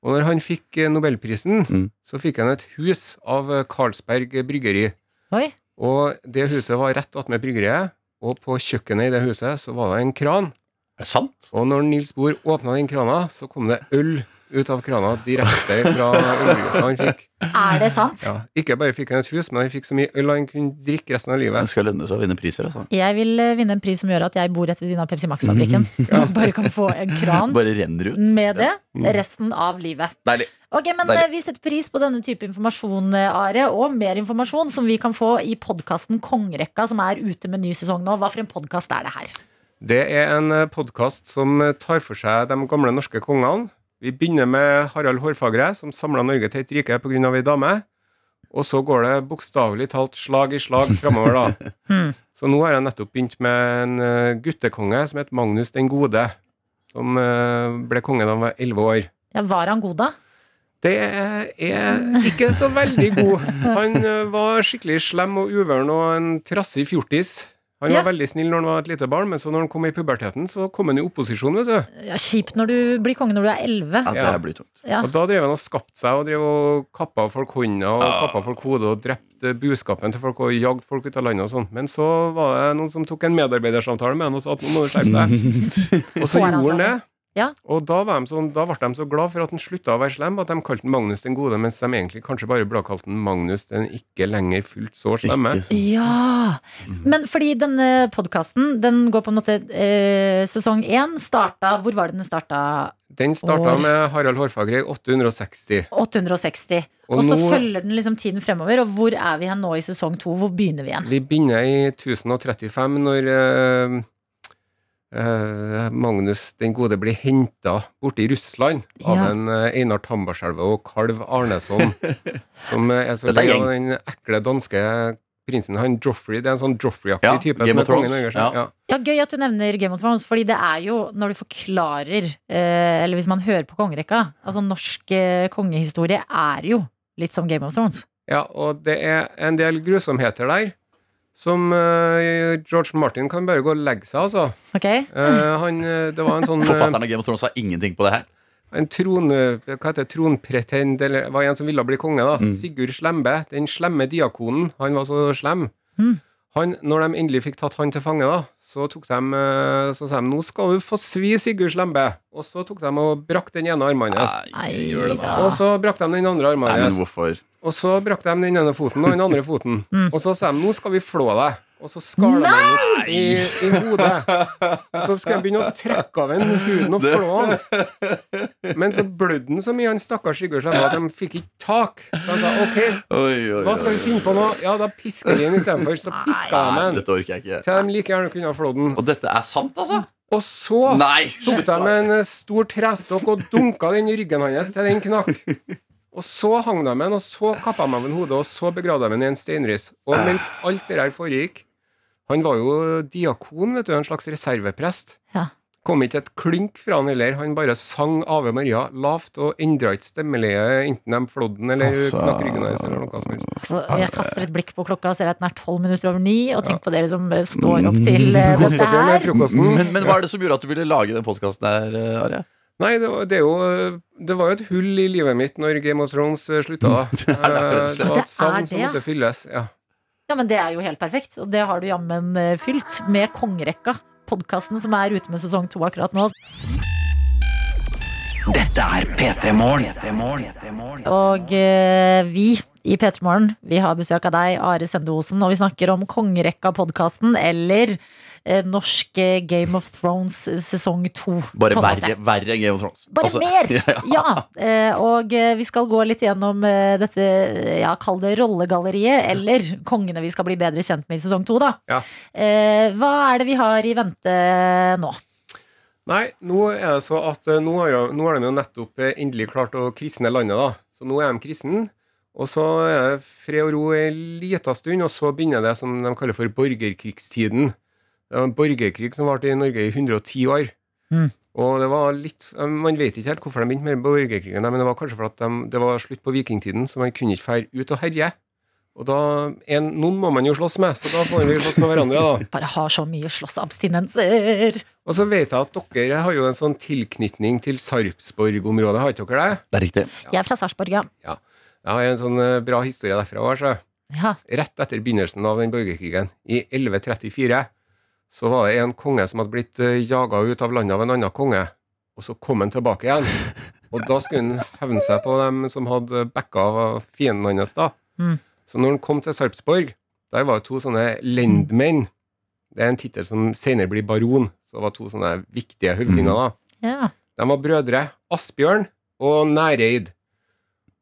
S10: Og når han fikk eh, Nobelprisen,
S4: Mm.
S10: så fikk han et hus av eh, Carlsberg Bryggeri.
S3: Oi.
S10: Og det huset var rett attmed bryggeriet, og på kjøkkenet i det huset så var det en kran.
S4: Er det sant?
S10: Og når Nils Bohr åpna den krana, så kom det øl ut av krana direkte fra ølhuset han fikk.
S3: Er det sant?
S10: Ja, ikke bare fikk han et hus, men han fikk så mye øl han kunne drikke resten av
S4: Det
S10: livet.
S4: skal lønne seg å vinne priser. altså.
S3: Jeg vil eh, vinne en pris som gjør at jeg bor rett ved siden av Pepsi Max-fabrikken. Bare kan få en kran
S4: Bare renner ut.
S3: med det resten av livet.
S4: Deilig.
S3: Ok, men
S4: Deilig.
S3: eh, Vi setter pris på denne type informasjon, eh, Are, og mer informasjon som vi kan få i podkasten Kongerekka, som er ute med ny sesong nå. Hva for en podkast er det her?
S10: Det er en podkast som eh, tar for seg de gamle norske kongene. Vi begynner med Harald Hårfagre, som samla Norge til et rike pga. ei dame. Og så går det bokstavelig talt slag i slag framover, da.
S3: Hmm.
S10: Så nå har jeg nettopp begynt med en eh, guttekonge som het Magnus den gode. Som eh, ble konge da han var elleve år.
S3: Ja, var han god, da?
S10: Det er ikke så veldig god. Han eh, var skikkelig slem og uvøren og en trassig fjortis. Han
S3: Ja.
S10: var veldig snill når han var et lite barn, men så når han kom i puberteten, så kom han i opposisjon, vet du.
S3: Ja, Kjipt når du blir konge når du er elleve.
S10: det Ja.
S4: blir tungt.
S3: Ja.
S10: Og da drev han og skapte seg og drev og kappa folk hånda og kappa folk hodet og drepte buskapen til folk og jagde folk ut av landet og sånn. Men så var det noen som tok en medarbeidersamtale med han og sa at nå må du skjerpe deg. og så
S3: Får han
S10: gjorde han det.
S3: sånn? Ja.
S10: Og da, var de sånn, da ble de så glad for at han slutta å være slem, at de kalte han Magnus den gode, mens de egentlig kanskje bare burde ha kalt han Magnus den ikke lenger fullt så slemme.
S4: Ikke sånn.
S3: Ja! Mhm. Men fordi denne podkasten den går på en måte eh, Sesong én starta Hvor var det den starta?
S10: Den starta
S3: Åh.
S10: med Harald Hårfagre i 860.
S3: 860.
S10: Og
S3: Og så
S10: nå-
S3: følger den liksom tiden fremover. Og hvor er vi hen nå i sesong to? Hvor begynner vi igjen?
S10: Vi begynner i 1035 når eh, eh, Magnus den gode blir henta borte i Russland av
S3: Ja.
S10: en eh, Einar Tambarskjelve og kalv Arneson, som eh, er så
S4: Dette er
S10: lei
S4: gjeng.
S10: av den ekle danske prinsen. Han Joffrey, det er en sånn Joffrey-aktig
S4: Ja,
S10: type.
S4: Game
S10: som
S4: of
S10: er kongen i
S4: Thrones,
S10: Norge.
S4: ja.
S10: Ja.
S3: Ja, Gøy at du nevner Game of Thrones, fordi det er jo når du forklarer, eh, eller hvis man hører på kongerekka Altså norsk eh, kongehistorie er jo litt som Game of Thrones.
S10: Ja, og det er en del grusomheter der. Som eh, George Martin kan bare gå og legge seg, altså.
S3: Ok?
S10: Eh, han, eh, det var en sånn eh,
S4: Forfatteren av Game of Thrones har ingenting på det her.
S10: En tron, eh, hva heter det, tronpretend, eller var en som ville bli konge, da.
S4: Mm.
S10: Sigurd Slembe, den slemme diakonen. Han var så slem.
S3: Mm.
S10: Han, når de endelig fikk tatt han til fange, da, så tok de eh, Så sa de nå skal du få svi Sigurd Slembe. Og så tok de og brakk den ene armen hans.
S4: Nei, gjør det da.
S10: Og så brakk de den andre armen
S4: Nei, men
S10: hans.
S4: hvorfor?
S10: Og så brakk de den ene foten og den andre foten.
S3: Mm.
S10: Og så sa de nå skal vi flå deg. Og så skar de ham i, i hodet. Så skal jeg begynne å trekke av ham huden og flå ham. Men så blødde han så mye, han stakkars Sigurd Slemma, at de fikk ikke tak. Så han sa ok,
S4: Oi, oi,
S10: hva skal vi finne på nå? Ja, da pisker vi ham istedenfor. Så piska de
S4: Nei,
S10: ham.
S4: dette orker jeg ikke.
S10: Til de like gjerne kunne ha flådd ham.
S4: Og dette er sant, altså?
S10: Og så
S4: Nei!
S10: tok de en eh, stor trestokk og dunka den i ryggen hans til den knakk. Og så hang de den, og så kappa de av den hodet, og så begravde de den i en steinrys. Og mens alt det der foregikk Han var jo diakon, vet du, en slags reserveprest.
S3: Ja.
S10: Kom ikke et klink fra han heller. Han bare sang Ave Maria lavt og endra ikke stemmeleie, enten de flådde den eller
S4: Altså-
S10: knakk ryggen hans eller noe som helst.
S3: Altså, jeg kaster et blikk på klokka og ser at den er tolv minutter over ni, og tenk på dere som eh, står opp til eh,
S10: Kos
S3: dette
S10: dere med
S3: her.
S10: frokosten.
S4: Men, men hva er det som gjorde at du ville lage den podkasten her, eh, Are?
S10: Nei, det var, det, er jo, det var jo et hull i livet mitt når Game of Thrones eh, slutta. da. Eh,
S3: Det
S10: Det var
S3: er
S10: et savn som
S3: det, ja.
S10: måtte fylles. Ja.
S3: Ja, men det er jo helt perfekt, og det har du jammen eh, fylt med kongerekka. Podkasten som er ute med sesong to akkurat nå.
S2: Dette er P3 Morgen.
S3: Og eh, vi i P3 Morgen, vi har besøk av deg, Are Sende Osen, og vi snakker om Kongerekka-podkasten eller eh, norske Game of Thrones eh, sesong to.
S4: Bare
S3: på en måte.
S4: verre, verre enn Game of Thrones.
S3: Bare
S4: Altså,
S3: mer!
S4: ja,
S3: Ja. eh, og eh, vi skal gå litt gjennom eh, dette, ja, kall det rollegalleriet, eller kongene vi skal bli bedre kjent med i sesong to, da.
S10: Ja.
S3: Eh, hva er det vi har i vente nå?
S10: Nei, nå er det så at eh, nå har, jo- nå har de jo nettopp eh, endelig klart å kristne landet, da. Så nå er de kristne. Og så er det fred og ro en liten stund, og så begynner det som de kaller for borgerkrigstiden. Det var en borgerkrig som varte i Norge i 110 år.
S3: Mm.
S10: Og det var litt Man vet ikke helt hvorfor de begynte med borgerkrigen, men det var kanskje fordi de, det var slutt på vikingtiden, så man kunne ikke fære ut og herje. Og da en, Noen må man jo slåss med, så da får vi slåss med hverandre, da.
S3: Bare har så mye slåssabstinenser.
S10: Og så vet jeg at dere har jo en sånn tilknytning til Sarpsborg-området, har ikke dere det?
S4: Det er riktig.
S3: Jeg er fra Sarpsborg, ja.
S10: Jeg har en sånn eh, bra historie derfra også, så.
S3: ja.
S10: Rett etter begynnelsen av den borgerkrigen, i 1134, så var det en konge som hadde blitt eh, jaga ut av landet av en annen konge, og så kom han tilbake igjen. Og da skulle han hevne seg på dem som hadde backa av fienden hans, da.
S3: Mm.
S10: Så når han kom til Sarpsborg, der var det to sånne lendmenn. Det er en tittel som senere blir baron. Så det var to sånne viktige høvdinger, da.
S3: ja.
S10: De var brødre Asbjørn og Næreid.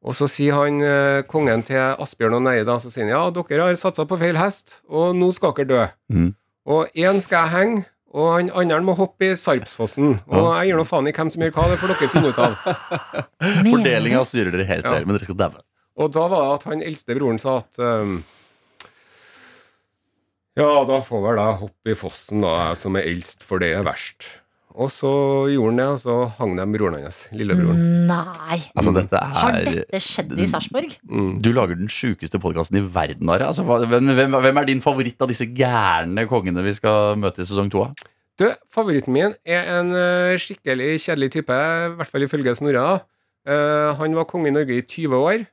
S10: Og så sier han eh, kongen til Asbjørn og Næreid da, så sier han, ja, dere har satsa på feil hest, og nå skal dere dø.
S4: Mhm.
S10: Og én skal jeg henge, og han andre må hoppe i Sarpsfossen. Og
S4: Ja.
S10: jeg gir nå faen i hvem som gjør hva, det får dere finne ut av.
S3: Mener du?
S4: Fordelinga styrer dere helt
S10: Ja.
S4: selv, men dere skal daue.
S10: Og da var det at han eldste broren sa at ehm, Ja, da får vel jeg hoppe i fossen, da, jeg som er eldst, for det er verst. Og så gjorde han det, og så hang de broren hans, lillebroren.
S3: Nei.
S4: Altså, dette
S3: Har
S4: er
S3: dette skjedd i Sarpsborg?
S4: Du lager den sjukeste podkasten i verden, Are. Altså, hva- hvem, hvem, hvem er din favoritt av disse gærne kongene vi skal møte i sesong to av?
S10: Du, favoritten min er en eh, skikkelig kjedelig type, i hvert fall ifølge Snorre. da. Eh, han var konge i Norge i 20 år,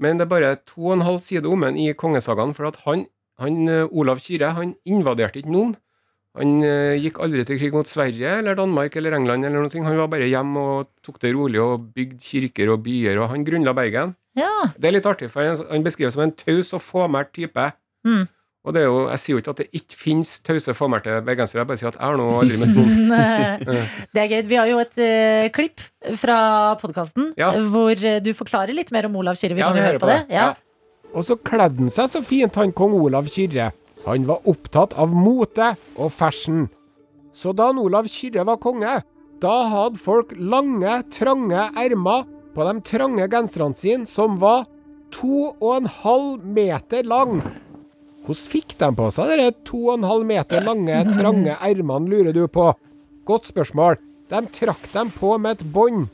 S10: men det er bare to og en halv side om ham i kongesagaen, for at han, han eh, Olav Kyrre, han invaderte ikke noen. Han eh, gikk aldri til krig mot Sverige eller Danmark eller England eller noe. Han var bare hjemme og tok det rolig og bygde kirker og byer, og han grunnla Bergen.
S3: Ja.
S10: Det er litt artig, for han, han beskrives som en taus og fåmælt type.
S3: Mm.
S10: Og det er jo, jeg sier jo ikke at det ikke finnes tause, fåmælte bergensere. Jeg bare sier at jeg har nå aldri møtt noen.
S3: Det er gøy. Vi har jo et eh, klipp fra podkasten
S10: Ja.
S3: hvor eh, du forklarer litt mer om Olav Kyrre. Vi
S10: Ja,
S3: kan
S10: vi
S3: jo
S10: hører
S3: høre på
S10: på
S3: det.
S10: det.
S3: Ja.
S10: Ja.
S11: Og så kledde han seg så fint, han kong Olav Kyrre. Han var opptatt av mote og fashion. Så da han Olav Kyrre var konge, da hadde folk lange, trange ermer på de trange genserne sine, som var to og en halv meter lang. Hvordan fikk de på seg de to og en halv meter lange, trange ermene, lurer du på? Godt spørsmål. De trakk dem på med et bånd.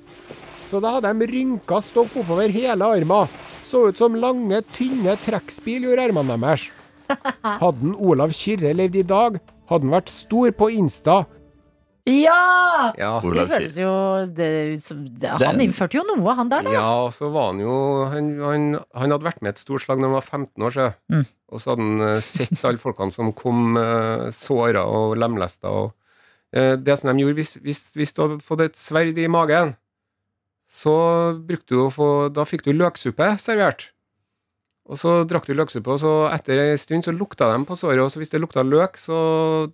S11: Så da hadde de rynka stoff oppover hele armen. Så ut som lange, tynne trekkspill gjorde armene deres. Hadde en Olav Kyrre levd i dag, hadde han vært stor på Insta.
S3: Ja!
S10: Ja.
S3: Det
S4: Olav Kyrre.
S3: føles jo det, ut som det,
S4: Det er
S3: Han
S4: en-
S3: innførte jo noe, han der, da.
S10: ja, og så var han jo Han, han, han hadde vært med i et stort slag da han var 15 år siden.
S3: Mm.
S10: Og så hadde han eh, sett alle folkene som kom eh, såra og lemlesta. Og, eh, det som de gjorde hvis, hvis, hvis du hadde fått et sverd i magen, så brukte du å få Da fikk du løksuppe servert. Og så drakk du løksuppe, og så etter ei stund så lukta de på såret, og så hvis det lukta løk, så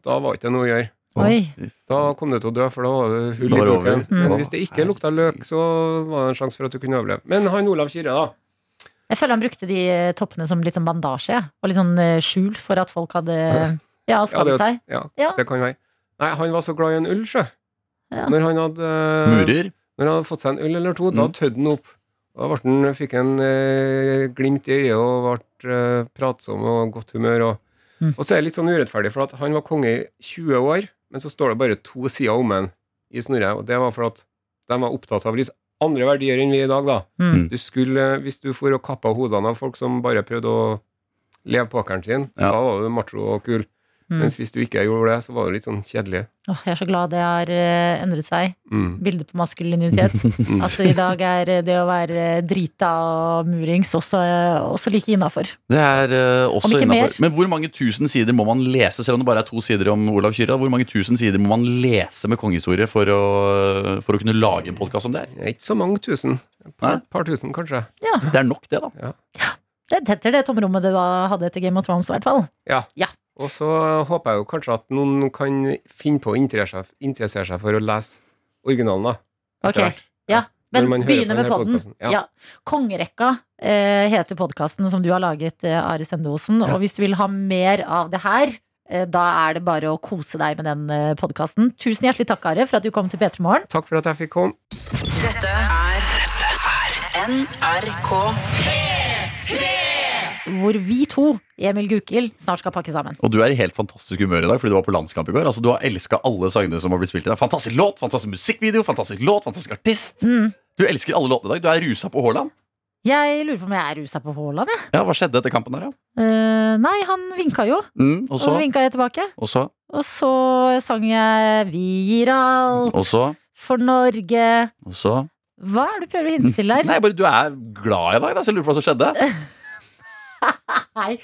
S10: da var ikke det noe å gjøre.
S3: Oi.
S10: Da kom du til å dø, for da var det hull
S4: Da
S10: i
S4: var det
S10: kroken.
S4: over.
S10: Men
S4: Mm.
S10: hvis det ikke lukta løk, så var det en sjanse for at du kunne overleve. Men han Olav Kyrre, da.
S3: Jeg føler han brukte de eh, toppene som litt sånn bandasje. ja. Og litt sånn eh, skjul for at folk hadde ja, skadet
S10: det-
S3: seg.
S10: Ja,
S3: Ja.
S10: det kan være. Nei, han var så glad i en ull, sjø.
S3: Ja.
S10: Når han hadde eh,
S4: Murer?
S10: Når han hadde fått seg en ull eller to,
S4: Mm.
S10: da tødde han opp. Da ble han, fikk han eh, glimt i øyet og ble eh, pratsom og godt humør. Og,
S3: Mm.
S10: og så er det litt sånn urettferdig, for at han var konge i 20 år, men så står det bare to sider om han i Snorre, og det var for at de var opptatt av litt andre verdier enn vi er i dag, da.
S3: Mm.
S10: Du skulle, hvis du for og kappa hodene av folk som bare prøvde å leve pokeren sin,
S4: Ja.
S10: da var du macho og kul.
S3: Mm.
S10: Mens hvis du ikke gjorde det, så var du litt sånn kjedelig.
S3: Åh, jeg er så glad det har eh, endret seg.
S10: Mm.
S3: Bildet på maskulinitet. At i dag er eh, det å være drita og murings også, eh, også like innafor.
S4: Det er eh, også
S3: Om
S4: innafor.
S3: ikke mer.
S4: Men hvor mange tusen sider må man lese, selv om det bare er to sider om Olav Kyrre? da? Hvor mange tusen sider må man lese med kongehistorie for å, for å kunne lage en podkast om det? her?
S10: Ikke så mange tusen. Et
S4: Nei.
S10: par, par tusen, kanskje.
S4: Det er nok, det, da.
S3: Det tetter det tomrommet det var, hadde etter Game of Thrones, i hvert fall.
S10: Ja.
S3: Ja.
S10: Og så håper jeg jo kanskje at noen kan finne på å interessere seg, interessere seg for å lese originalen, da.
S3: Ok,
S10: etter hvert.
S3: ja. Men
S10: Når man hører
S3: begynne
S10: på
S3: med
S10: denne
S3: podden.
S10: podcasten,
S3: Ja.
S10: ja.
S3: Kongerekka eh, heter podkasten som du har laget, eh, Are Sendeosen. Og hvis du vil ha mer av det her, eh, da er det bare å kose deg med den eh, podkasten. Tusen hjertelig takk, Are, for at du kom til P3 Morgen.
S10: Takk for at jeg fikk komme.
S6: Dette er NRK.
S3: Hvor vi to, Emil Gukild, snart skal pakke sammen.
S4: Og du er i helt fantastisk humør i dag fordi du var på landskamp i går. Altså, Du har elska alle sangene som har blitt spilt i dag. Fantastisk låt, fantastisk musikkvideo, fantastisk låt, fantastisk artist.
S3: Mm.
S4: Du elsker alle låtene i dag. Du er rusa på Haaland.
S3: Jeg lurer på om jeg er rusa på Haaland, jeg.
S4: Ja, hva skjedde etter kampen her, da?
S3: Eh, nei, han vinka jo.
S4: Mm, og
S3: Og så
S4: så,
S3: vinka jeg tilbake.
S4: og så,
S3: Og så sang jeg 'Vi gir alt
S4: og så,
S3: for Norge'.
S4: og så.
S3: Hva er det du prøver å hinte til der?
S4: Nei, bare du er glad i dag, da, så jeg lurer på hva som skjedde.
S3: Nei,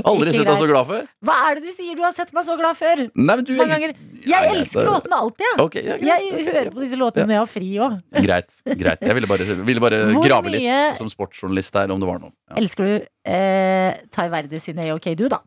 S4: Aldri
S3: Øh, ikke
S4: sett deg så
S3: greit.
S4: glad før.
S3: Hva er det du sier? Du har sett meg så glad før!
S4: Nei, men du
S3: Mange ganger.
S4: Ja,
S3: Jeg
S4: greit,
S3: elsker
S4: da.
S3: låtene alltid, jeg.
S4: Ok, ja, greit.
S3: Jeg hører på disse låtene når jeg har fri òg.
S4: Greit. greit Jeg ville bare, ville bare
S3: Hvor
S4: grave
S3: mye-
S4: litt som sportsjournalist der, om det var noe. Ja.
S3: Elsker du eh, Tai Verdi sin Er OK du, da?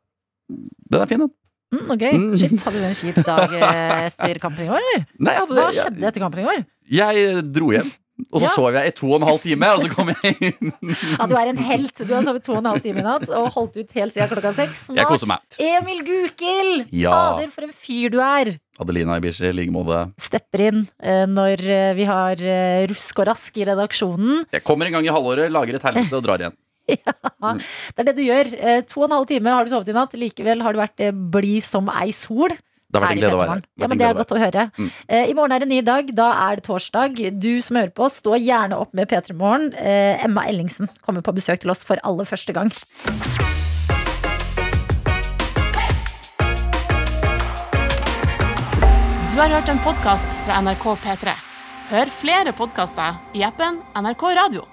S4: Den er fin, den.
S3: Mm, ok, Shit, hadde du en kjip dag eh, etter kampen i går, eller?
S4: Nei, jeg hadde-
S3: Hva
S4: jeg-
S3: skjedde etter kampen i går?
S4: Jeg dro hjem, og så
S3: Ja.
S4: sov jeg i to og en halv time, og så kom jeg inn.
S3: At du er en helt. Du har sovet to og en halv time i natt og holdt ut helt siden klokka seks.
S4: Jeg koser meg.
S3: Emil Gukild!
S4: Ja.
S3: Fader, for en fyr du er!
S4: Adelina Ibici, i like måte.
S3: Stepper inn eh, når eh, vi har eh, rusk og rask i redaksjonen.
S4: Jeg kommer en gang i halvåret, lager et helvete og drar igjen.
S3: Ja, det er det du gjør. Eh, To og en halv time har du sovet i natt. Likevel har du vært eh, blid som ei sol.
S4: Det har vært
S3: Her
S4: en
S3: i
S4: glede å være
S3: Petermorgen.
S4: her. Vært
S3: Ja,
S4: en
S3: men Det er
S4: glede å
S3: godt å høre.
S4: Mm.
S3: Eh, I morgen er det en ny dag. Da er det torsdag. Du som hører på, stå gjerne opp med P3 Morgen. Eh, Emma Ellingsen kommer på besøk til oss for aller første gang.
S1: Du har hørt en podkast fra NRK P3. Hør flere podkaster i appen NRK Radio.